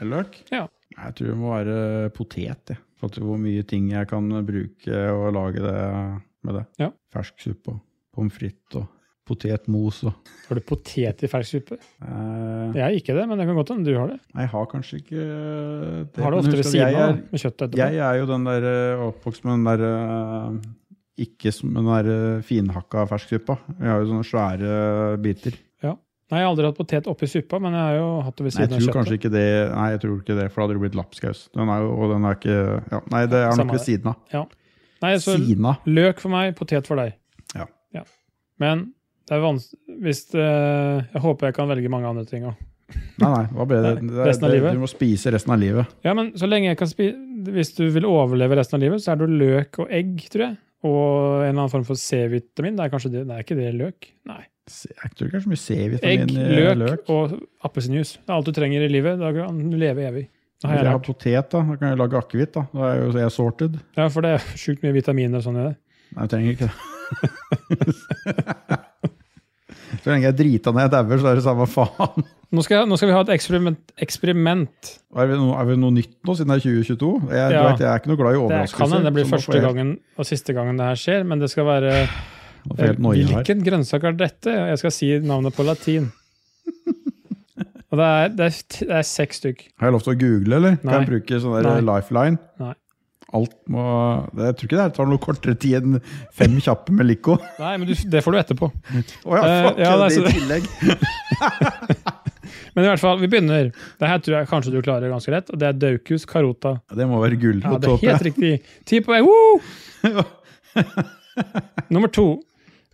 [SPEAKER 1] Er det løk?
[SPEAKER 2] Ja.
[SPEAKER 1] Jeg tror det må være potet. Jeg. For at hvor mye ting jeg kan bruke og lage det med det.
[SPEAKER 2] Ja.
[SPEAKER 1] Fersk suppe og pommes frites og potetmos og
[SPEAKER 2] Har du potet i fersk suppe?
[SPEAKER 1] eh,
[SPEAKER 2] Jeg er ikke det, men det kan godt hende du har det.
[SPEAKER 1] Nei, jeg har kanskje ikke det.
[SPEAKER 2] har det
[SPEAKER 1] men
[SPEAKER 2] ofte
[SPEAKER 1] husk
[SPEAKER 2] ved
[SPEAKER 1] at
[SPEAKER 2] siden av
[SPEAKER 1] jeg
[SPEAKER 2] da, med kjøttet
[SPEAKER 1] er,
[SPEAKER 2] etterpå.
[SPEAKER 1] jeg er jo den der eh, oppvokst med den der eh, Ikke som den der eh, finhakka fersksuppa. Jeg har jo sånne svære biter.
[SPEAKER 2] Nei, jeg har aldri hatt potet oppi suppa, men jeg har jo hatt det ved
[SPEAKER 1] Nei, jeg
[SPEAKER 2] siden av
[SPEAKER 1] tror
[SPEAKER 2] kjøttet.
[SPEAKER 1] kanskje ikke det Nei, jeg tror ikke det, for da hadde det blitt lapskaus. Den er jo, og den er ikke ja, Nei, det er
[SPEAKER 2] Samme
[SPEAKER 1] nok ved siden av.
[SPEAKER 2] Nei, så
[SPEAKER 1] Sina.
[SPEAKER 2] løk for meg, potet for deg.
[SPEAKER 1] Ja.
[SPEAKER 2] Men det er vans- hvis det, Jeg håper jeg kan velge mange andre ting òg.
[SPEAKER 1] Nei, nei, hva ble det?
[SPEAKER 2] Nei,
[SPEAKER 1] det, er-
[SPEAKER 2] resten av
[SPEAKER 1] det
[SPEAKER 2] livet.
[SPEAKER 1] du må spise resten av livet.
[SPEAKER 2] Ja, men så lenge jeg kan spi... Hvis du vil overleve resten av livet, så er det jo løk og egg, tror jeg. Og en eller annen form for C-vitamin. Det er kanskje det, nei, ikke det løk? Nei.
[SPEAKER 1] Se- Jeg tror ikke det er så mye C-vitamin
[SPEAKER 2] Egg,
[SPEAKER 1] i
[SPEAKER 2] løk,
[SPEAKER 1] eh, løk.
[SPEAKER 2] og appelsinjuice. Det er alt du trenger i livet. Da kan du leve evig. Det
[SPEAKER 1] Hvis
[SPEAKER 2] har jeg
[SPEAKER 1] jeg har
[SPEAKER 2] lært.
[SPEAKER 1] potet, da, da kan jeg lage akevitt. Da Da er jo jeg sorted.
[SPEAKER 2] Ja, for det er sjukt mye vitaminer og sånn i det.
[SPEAKER 1] Nei, jeg trenger ikke det. så lenge jeg er drita når jeg dauer, så er det samme faen.
[SPEAKER 2] Nå skal, nå skal vi ha et eksperiment. eksperiment.
[SPEAKER 1] Er vi, noe, er vi noe nytt nå, siden det er 2022? Jeg,
[SPEAKER 2] Ja.
[SPEAKER 1] du vet, jeg er ikke noe glad i
[SPEAKER 2] Det kan
[SPEAKER 1] overraskelser.
[SPEAKER 2] hende det blir
[SPEAKER 1] så nå får
[SPEAKER 2] første
[SPEAKER 1] jeg-
[SPEAKER 2] gangen og siste gangen det her skjer, men det skal være
[SPEAKER 1] nå får jeg helt noia her.
[SPEAKER 2] Hvilken grønnsak er dette? Jeg skal si navnet på latin. Og det er, det er, det er seks stykk.
[SPEAKER 1] Har jeg lov til å google, eller? Kan
[SPEAKER 2] Nei.
[SPEAKER 1] jeg bruke sånn der
[SPEAKER 2] Nei.
[SPEAKER 1] lifeline?
[SPEAKER 2] Nei.
[SPEAKER 1] Alt må Jeg tror ikke det her tar noe kortere tid enn fem kjappe med Lico.
[SPEAKER 2] Nei, men du, det får du etterpå.
[SPEAKER 1] Å ja,
[SPEAKER 2] Eh,
[SPEAKER 1] fuck,
[SPEAKER 2] ja,
[SPEAKER 1] det
[SPEAKER 2] nei, så-
[SPEAKER 1] i tillegg.
[SPEAKER 2] Men i hvert fall, vi begynner. Det her tror jeg kanskje du klarer ganske lett, og det er Daucus carota.
[SPEAKER 1] Det må være
[SPEAKER 2] Ja,
[SPEAKER 1] gulrot,
[SPEAKER 2] det er
[SPEAKER 1] håper jeg.
[SPEAKER 2] helt riktig. Ti poeng. Woo! Nummer to.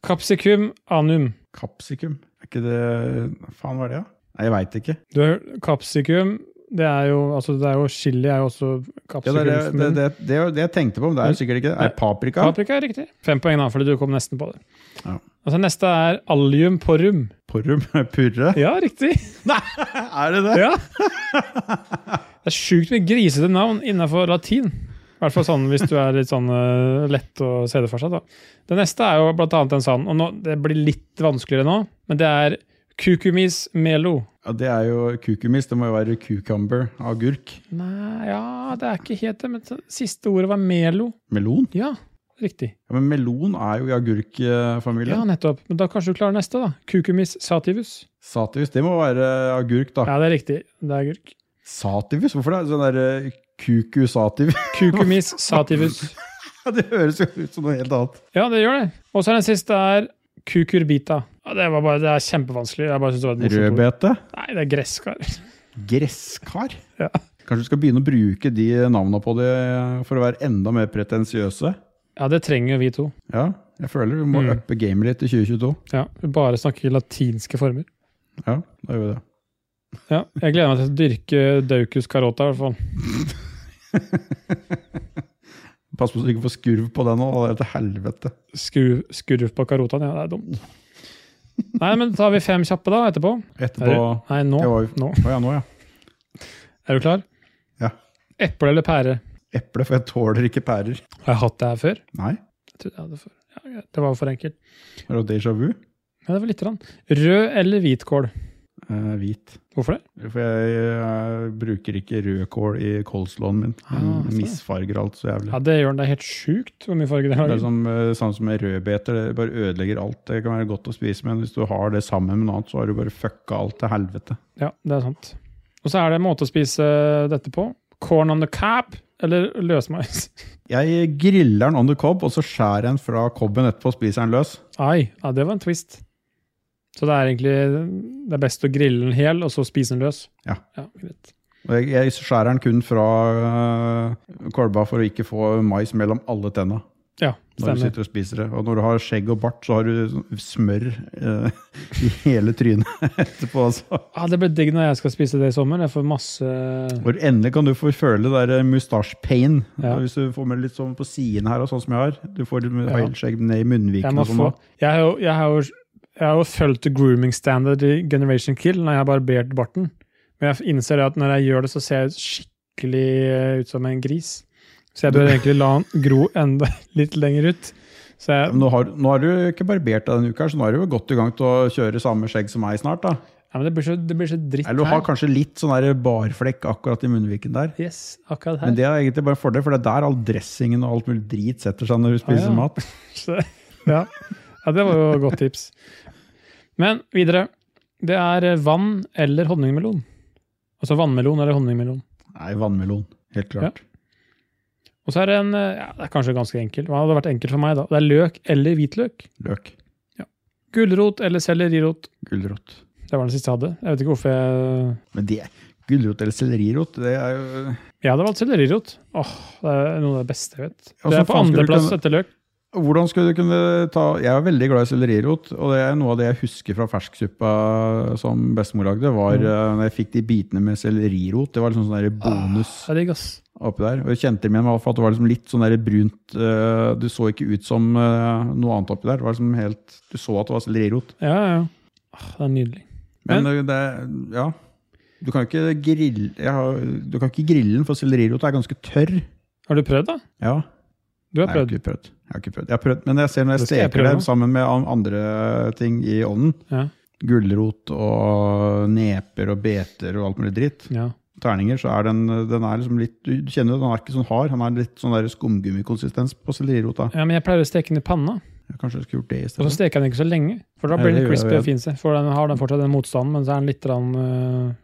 [SPEAKER 2] Capsicum anum.
[SPEAKER 1] Kapsikum. Er ikke det Faen, hva er det, da? Nei, jeg veit ikke.
[SPEAKER 2] Du har capsicum det er, jo, altså det er jo chili er jo også
[SPEAKER 1] Ja,
[SPEAKER 2] capsicum.
[SPEAKER 1] det, er det, det, det, det, er jo det jeg tenkte på, men det er jo sikkert ikke det. Er det paprika?
[SPEAKER 2] Paprika er riktig. Fem poeng, da, fordi du kom nesten på det.
[SPEAKER 1] Ja.
[SPEAKER 2] Altså Neste er allium porrum.
[SPEAKER 1] Porrum? Purre?
[SPEAKER 2] Ja, riktig!
[SPEAKER 1] Er det det?
[SPEAKER 2] Ja. Det er sjukt mye grisete navn innenfor latin. I I hvert fall sånn hvis du er litt sånn eh, lett å se det for seg. da. Det neste er jo blant annet en sånn, og nå, det blir litt vanskeligere nå, men det er kukumis melo.
[SPEAKER 1] Ja, det er jo kukumis. Det må jo være cucumber, agurk.
[SPEAKER 2] Nei, ja, det er ikke helt det, men så- siste ordet var melo.
[SPEAKER 1] Melon?
[SPEAKER 2] Ja, riktig.
[SPEAKER 1] Ja, men melon er jo i
[SPEAKER 2] Ja,
[SPEAKER 1] agurkfamilien.
[SPEAKER 2] nettopp. Men da kanskje du klarer neste, da. Kukumis sativus.
[SPEAKER 1] Sativus, det må være agurk, da.
[SPEAKER 2] Ja, det er riktig. Det er agurk.
[SPEAKER 1] Sativus? Hvorfor det? Sånn der eh, kuku sativus?
[SPEAKER 2] Kukumis sativus.
[SPEAKER 1] det høres jo ut som noe helt annet.
[SPEAKER 2] Ja, det gjør det. Og så er den siste er kukurbita. Ja, det, var bare, det er kjempevanskelig. Jeg bare synes det var et morsomt ord.
[SPEAKER 1] Rødbete?
[SPEAKER 2] Nei, det er gresskar.
[SPEAKER 1] Gresskar?
[SPEAKER 2] Ja.
[SPEAKER 1] Kanskje du skal begynne å bruke de navnene på det for å være enda mer pretensiøse?
[SPEAKER 2] Ja, det trenger jo vi to.
[SPEAKER 1] Ja, jeg føler du må
[SPEAKER 2] Mm.
[SPEAKER 1] uppe gamet litt i 2022.
[SPEAKER 2] Ja, vi bare snakker latinske former.
[SPEAKER 1] Ja, da gjør vi det.
[SPEAKER 2] Ja, jeg gleder meg til å dyrke Daucus carota, i hvert fall.
[SPEAKER 1] Pass på så du ikke får skurv på den nå, da er det til helvete.
[SPEAKER 2] Skru, skurv på carotaen, ja, det er dumt. Nei, men tar vi fem kjappe da, etterpå? Er
[SPEAKER 1] Etterpå
[SPEAKER 2] du, nei, nå.
[SPEAKER 1] Det var jo-
[SPEAKER 2] nå.
[SPEAKER 1] Å ja, nå ja.
[SPEAKER 2] Er du klar?
[SPEAKER 1] Ja.
[SPEAKER 2] Eple eller pære?
[SPEAKER 1] Eple, for jeg tåler ikke pærer.
[SPEAKER 2] Har jeg hatt det her før?
[SPEAKER 1] Nei,
[SPEAKER 2] Jeg trodde jeg hadde før. Ja, greit. det var for enkelt.
[SPEAKER 1] er det déjà vu?
[SPEAKER 2] Ja, det var litt. Rann. Rød eller hvitkål?
[SPEAKER 1] Eh, hvit.
[SPEAKER 2] Hvorfor det?
[SPEAKER 1] For jeg, eh, bruker ikke rødkål i coleslawen min. Den
[SPEAKER 2] Ah, sånn, ja.
[SPEAKER 1] misfarger alt så jævlig.
[SPEAKER 2] Ja, det gjør den. Det er helt sjukt hvor mye farge det
[SPEAKER 1] Det er
[SPEAKER 2] lager.
[SPEAKER 1] som, eh, samme som med rødbeter, det bare ødelegger alt. Det kan være godt å spise, men hvis du har det sammen med noe annet, så har du bare fucka alt til helvete.
[SPEAKER 2] Ja, det er sant. Og så er det en måte å spise eh, dette på. Corn on the cab eller løsmais?
[SPEAKER 1] Jeg griller den on the cob, og så skjærer jeg den fra cobben etterpå og spiser den løs.
[SPEAKER 2] Ai, ja, det var en twist. Så det er egentlig det er best å grille den hel, og så spise den løs?
[SPEAKER 1] Ja.
[SPEAKER 2] ja greit.
[SPEAKER 1] Og jeg, jeg skjærer den kun fra øh, kolba for å ikke få mais mellom alle tenna
[SPEAKER 2] Ja,
[SPEAKER 1] når du
[SPEAKER 2] stemmer.
[SPEAKER 1] sitter og spiser det. Og når du har skjegg og bart, så har du sånn smør øh, i hele trynet etterpå. Altså.
[SPEAKER 2] Ah, det blir digg når jeg skal spise det i sommer. Jeg får masse
[SPEAKER 1] Hvor endelig kan du få føle det der mustasj-pain.
[SPEAKER 2] Ja.
[SPEAKER 1] Hvis du får med litt sånn på siden her, og sånn som jeg har. Du får litt
[SPEAKER 2] Ja.
[SPEAKER 1] heilskjegg ned i
[SPEAKER 2] Jeg
[SPEAKER 1] munnvikene.
[SPEAKER 2] må
[SPEAKER 1] og sånn
[SPEAKER 2] få
[SPEAKER 1] også.
[SPEAKER 2] Jeg har jo, jeg har jo, jeg har jo fulgt grooming standard i Generation Kill når jeg har barbert barten. Men jeg innser det at når jeg gjør det, så ser jeg skikkelig eh, ut som en gris. Så jeg bør egentlig la den gro enda litt lenger ut. Så
[SPEAKER 1] Ja,
[SPEAKER 2] jeg,
[SPEAKER 1] men Nå har, nå har du ikke barbert deg denne uka, her, så nå er du jo godt i gang til å kjøre samme skjegg som meg snart. da.
[SPEAKER 2] ja, men det blir så, det blir så dritt
[SPEAKER 1] Eller du har
[SPEAKER 2] her.
[SPEAKER 1] kanskje litt sånn der barflekk akkurat i munnviken der.
[SPEAKER 2] Yes, akkurat
[SPEAKER 1] Men
[SPEAKER 2] her.
[SPEAKER 1] det er egentlig bare en fordel, for det er der all dressingen og alt mulig drit setter seg når du spiser
[SPEAKER 2] Ah, ja.
[SPEAKER 1] mat.
[SPEAKER 2] Så, ja. ja, det var jo et godt tips. Men videre. Det er eh, vann eller honningmelon. Altså vannmelon eller honningmelon.
[SPEAKER 1] Nei, vannmelon. Helt klart.
[SPEAKER 2] Og så er det en eh, ja, Det er kanskje ganske enkelt. Hva hadde vært enkelt for meg, da? Det er løk eller hvitløk.
[SPEAKER 1] Løk.
[SPEAKER 2] Gulrot eller sellerirot.
[SPEAKER 1] Gulrot.
[SPEAKER 2] Det var den siste jeg hadde. Jeg vet ikke hvorfor jeg
[SPEAKER 1] Men det Gulrot eller sellerirot, det er jo
[SPEAKER 2] Jeg hadde valgt sellerirot. Åh, Det er noe av det beste jeg vet.
[SPEAKER 1] Ja,
[SPEAKER 2] Det
[SPEAKER 1] så
[SPEAKER 2] er på
[SPEAKER 1] faen skulle du
[SPEAKER 2] andreplass
[SPEAKER 1] kunne-
[SPEAKER 2] etter løk.
[SPEAKER 1] Hvordan skulle du kunne ta Jeg er veldig glad i sellerirot, og det er noe av det jeg husker fra fersksuppa som bestemor lagde, var
[SPEAKER 2] Mm.
[SPEAKER 1] eh, når jeg fikk de bitene med sellerirot. Det var liksom sånn der bonus
[SPEAKER 2] Det er digg, ass.
[SPEAKER 1] oppi der. Og jeg kjente dem igjen med at det var liksom litt sånn der brunt eh, Du så ikke ut som eh, noe annet oppi der. Det var liksom helt, du så at det var sellerirot.
[SPEAKER 2] Ja, ja, ja. Åh, Det er nydelig.
[SPEAKER 1] Men det, det- ja. Du kan ikke grille jeg har, Du kan ikke grille den, for sellerirot er ganske tørr.
[SPEAKER 2] Har du prøvd, da?
[SPEAKER 1] Ja,
[SPEAKER 2] Du har
[SPEAKER 1] Nei, jeg har
[SPEAKER 2] prøvd.
[SPEAKER 1] ikke prøvd. Jeg har ikke prøvd. Jeg har prøvd, men jeg ser når jeg
[SPEAKER 2] Det skal jeg
[SPEAKER 1] steker
[SPEAKER 2] prøve
[SPEAKER 1] det
[SPEAKER 2] nå.
[SPEAKER 1] sammen med an- andre ting i ovnen,
[SPEAKER 2] Ja.
[SPEAKER 1] gulrot og neper og beter og alt mulig dritt,
[SPEAKER 2] Ja.
[SPEAKER 1] terninger, så er den, den er liksom litt Du kjenner jo den er ikke sånn hard, han er litt sånn der skumgummikonsistens på sellerirota.
[SPEAKER 2] ja, men jeg pleier å steke den i panna,
[SPEAKER 1] Jeg Kanskje jeg skulle gjort det i
[SPEAKER 2] og så
[SPEAKER 1] stedet.
[SPEAKER 2] steker jeg den ikke så lenge. For da
[SPEAKER 1] Nei,
[SPEAKER 2] blir
[SPEAKER 1] det
[SPEAKER 2] den
[SPEAKER 1] gjør jeg,
[SPEAKER 2] crispy
[SPEAKER 1] ja.
[SPEAKER 2] og fin seg. For den har den fortsatt den motstanden, men så er den litt rann, øh,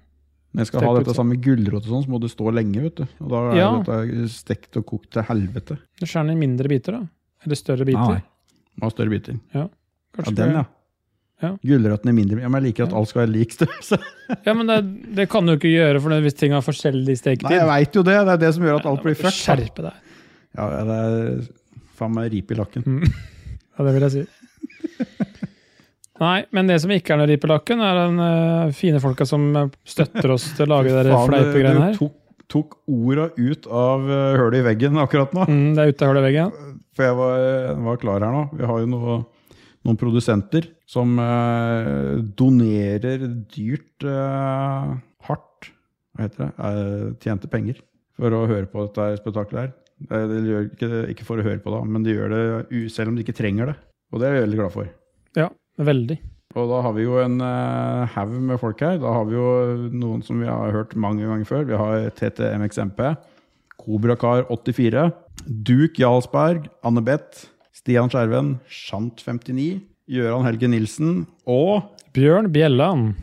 [SPEAKER 1] Når jeg skal
[SPEAKER 2] stek
[SPEAKER 1] ha
[SPEAKER 2] ut
[SPEAKER 1] dette
[SPEAKER 2] sånn.
[SPEAKER 1] sammen med gulrot og sånn, så må det stå lenge, vet du. Og da er
[SPEAKER 2] Ja.
[SPEAKER 1] dette stekt og kokt til helvete.
[SPEAKER 2] Du skjærer den i mindre biter, da. Eller større
[SPEAKER 1] Nei,
[SPEAKER 2] biter.
[SPEAKER 1] nei. Må ha større biter. Ja,
[SPEAKER 2] Kanskje
[SPEAKER 1] den, Ah, ja.
[SPEAKER 2] Ja.
[SPEAKER 1] Gulrøttene er mindre. Ja, men jeg liker at
[SPEAKER 2] Ja.
[SPEAKER 1] alt skal være lik størrelse.
[SPEAKER 2] Ja, men det, det kan du ikke gjøre for det- hvis ting har forskjellig steketid.
[SPEAKER 1] Nei, jeg veit jo det. Det er det som gjør at alt blir fucked. da.
[SPEAKER 2] Skjerpe deg.
[SPEAKER 1] Ja, ja, det er faen meg rip i lakken.
[SPEAKER 2] Ja, det vil jeg si. Nei, men det som ikke er noe rip i lakken, er den eh, fine folka som eh, støtter oss til å lage de
[SPEAKER 1] Faen, du-
[SPEAKER 2] fleipe greiene her.
[SPEAKER 1] Du tok, tok orda ut av eh, hølet i veggen akkurat nå.
[SPEAKER 2] Mm, det er ute av hullet i veggen.
[SPEAKER 1] For jeg var, jeg var klar her nå. Vi har jo noe, noen produsenter som eh, donerer dyrt eh, hardt Hva heter det? Eh, tjente penger for å høre på dette her spetakkelet her. Eh, De gjør ikke, det- ikke for å høre på, da, men de gjør det u- selv om de ikke trenger det. Og det er jeg veldig glad for.
[SPEAKER 2] Ja, veldig.
[SPEAKER 1] Og da har vi jo en eh, haug med folk her. Da har vi jo noen som vi har hørt mange ganger før. Vi har TTMXMP, Kobrakar84, Duke Jarlsberg, Anne Beth, Stian Skjerven, Shant59, Gøran Helge Nilsen og
[SPEAKER 2] Bjørn Bjelland.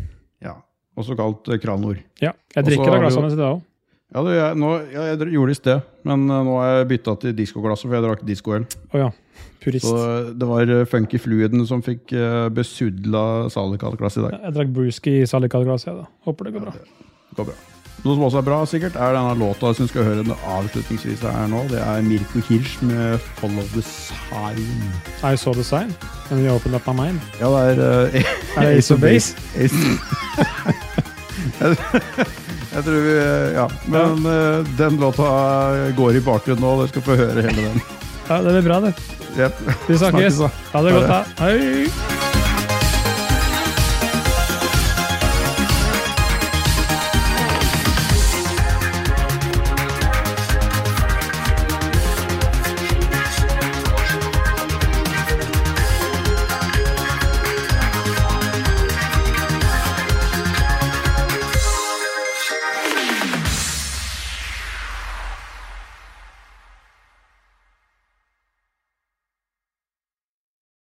[SPEAKER 1] ja, også kalt Kranor.
[SPEAKER 2] Ja,
[SPEAKER 1] Og
[SPEAKER 2] jeg
[SPEAKER 1] så
[SPEAKER 2] drikker
[SPEAKER 1] har
[SPEAKER 2] av
[SPEAKER 1] vi jo-
[SPEAKER 2] glassene til deg òg.
[SPEAKER 1] Ja, det, jeg, nå, ja, jeg dr- gjorde det i sted, men eh, nå har jeg bytta til diskoglasset, for jeg drakk diskoøl.
[SPEAKER 2] Å ja. Purist.
[SPEAKER 1] Så det var eh, Funky Fluiden som fikk eh, besudla salikatglasset i dag.
[SPEAKER 2] Jeg drakk brewski i salikatglass, jeg, da. Håper det går bra.
[SPEAKER 1] Det går bra. Noe som også er bra, sikkert, er denne låta som vi skal høre den avslutningsvis her nå. Det er Mirko Hirsch med 'Follow the Sign'.
[SPEAKER 2] I saw the sign, and you opened up my mind.
[SPEAKER 1] Ja, det er eh,
[SPEAKER 2] Er det Ace of Base?
[SPEAKER 1] Ace- Jeg tror vi eh, Ja. Men eh, den låta går i bakgrunnen nå. Dere skal få høre hele den.
[SPEAKER 2] Ja, det blir bra, det.
[SPEAKER 1] Yep.
[SPEAKER 2] Vi snakkes.
[SPEAKER 1] da.
[SPEAKER 2] Ha det godt, da. Hei!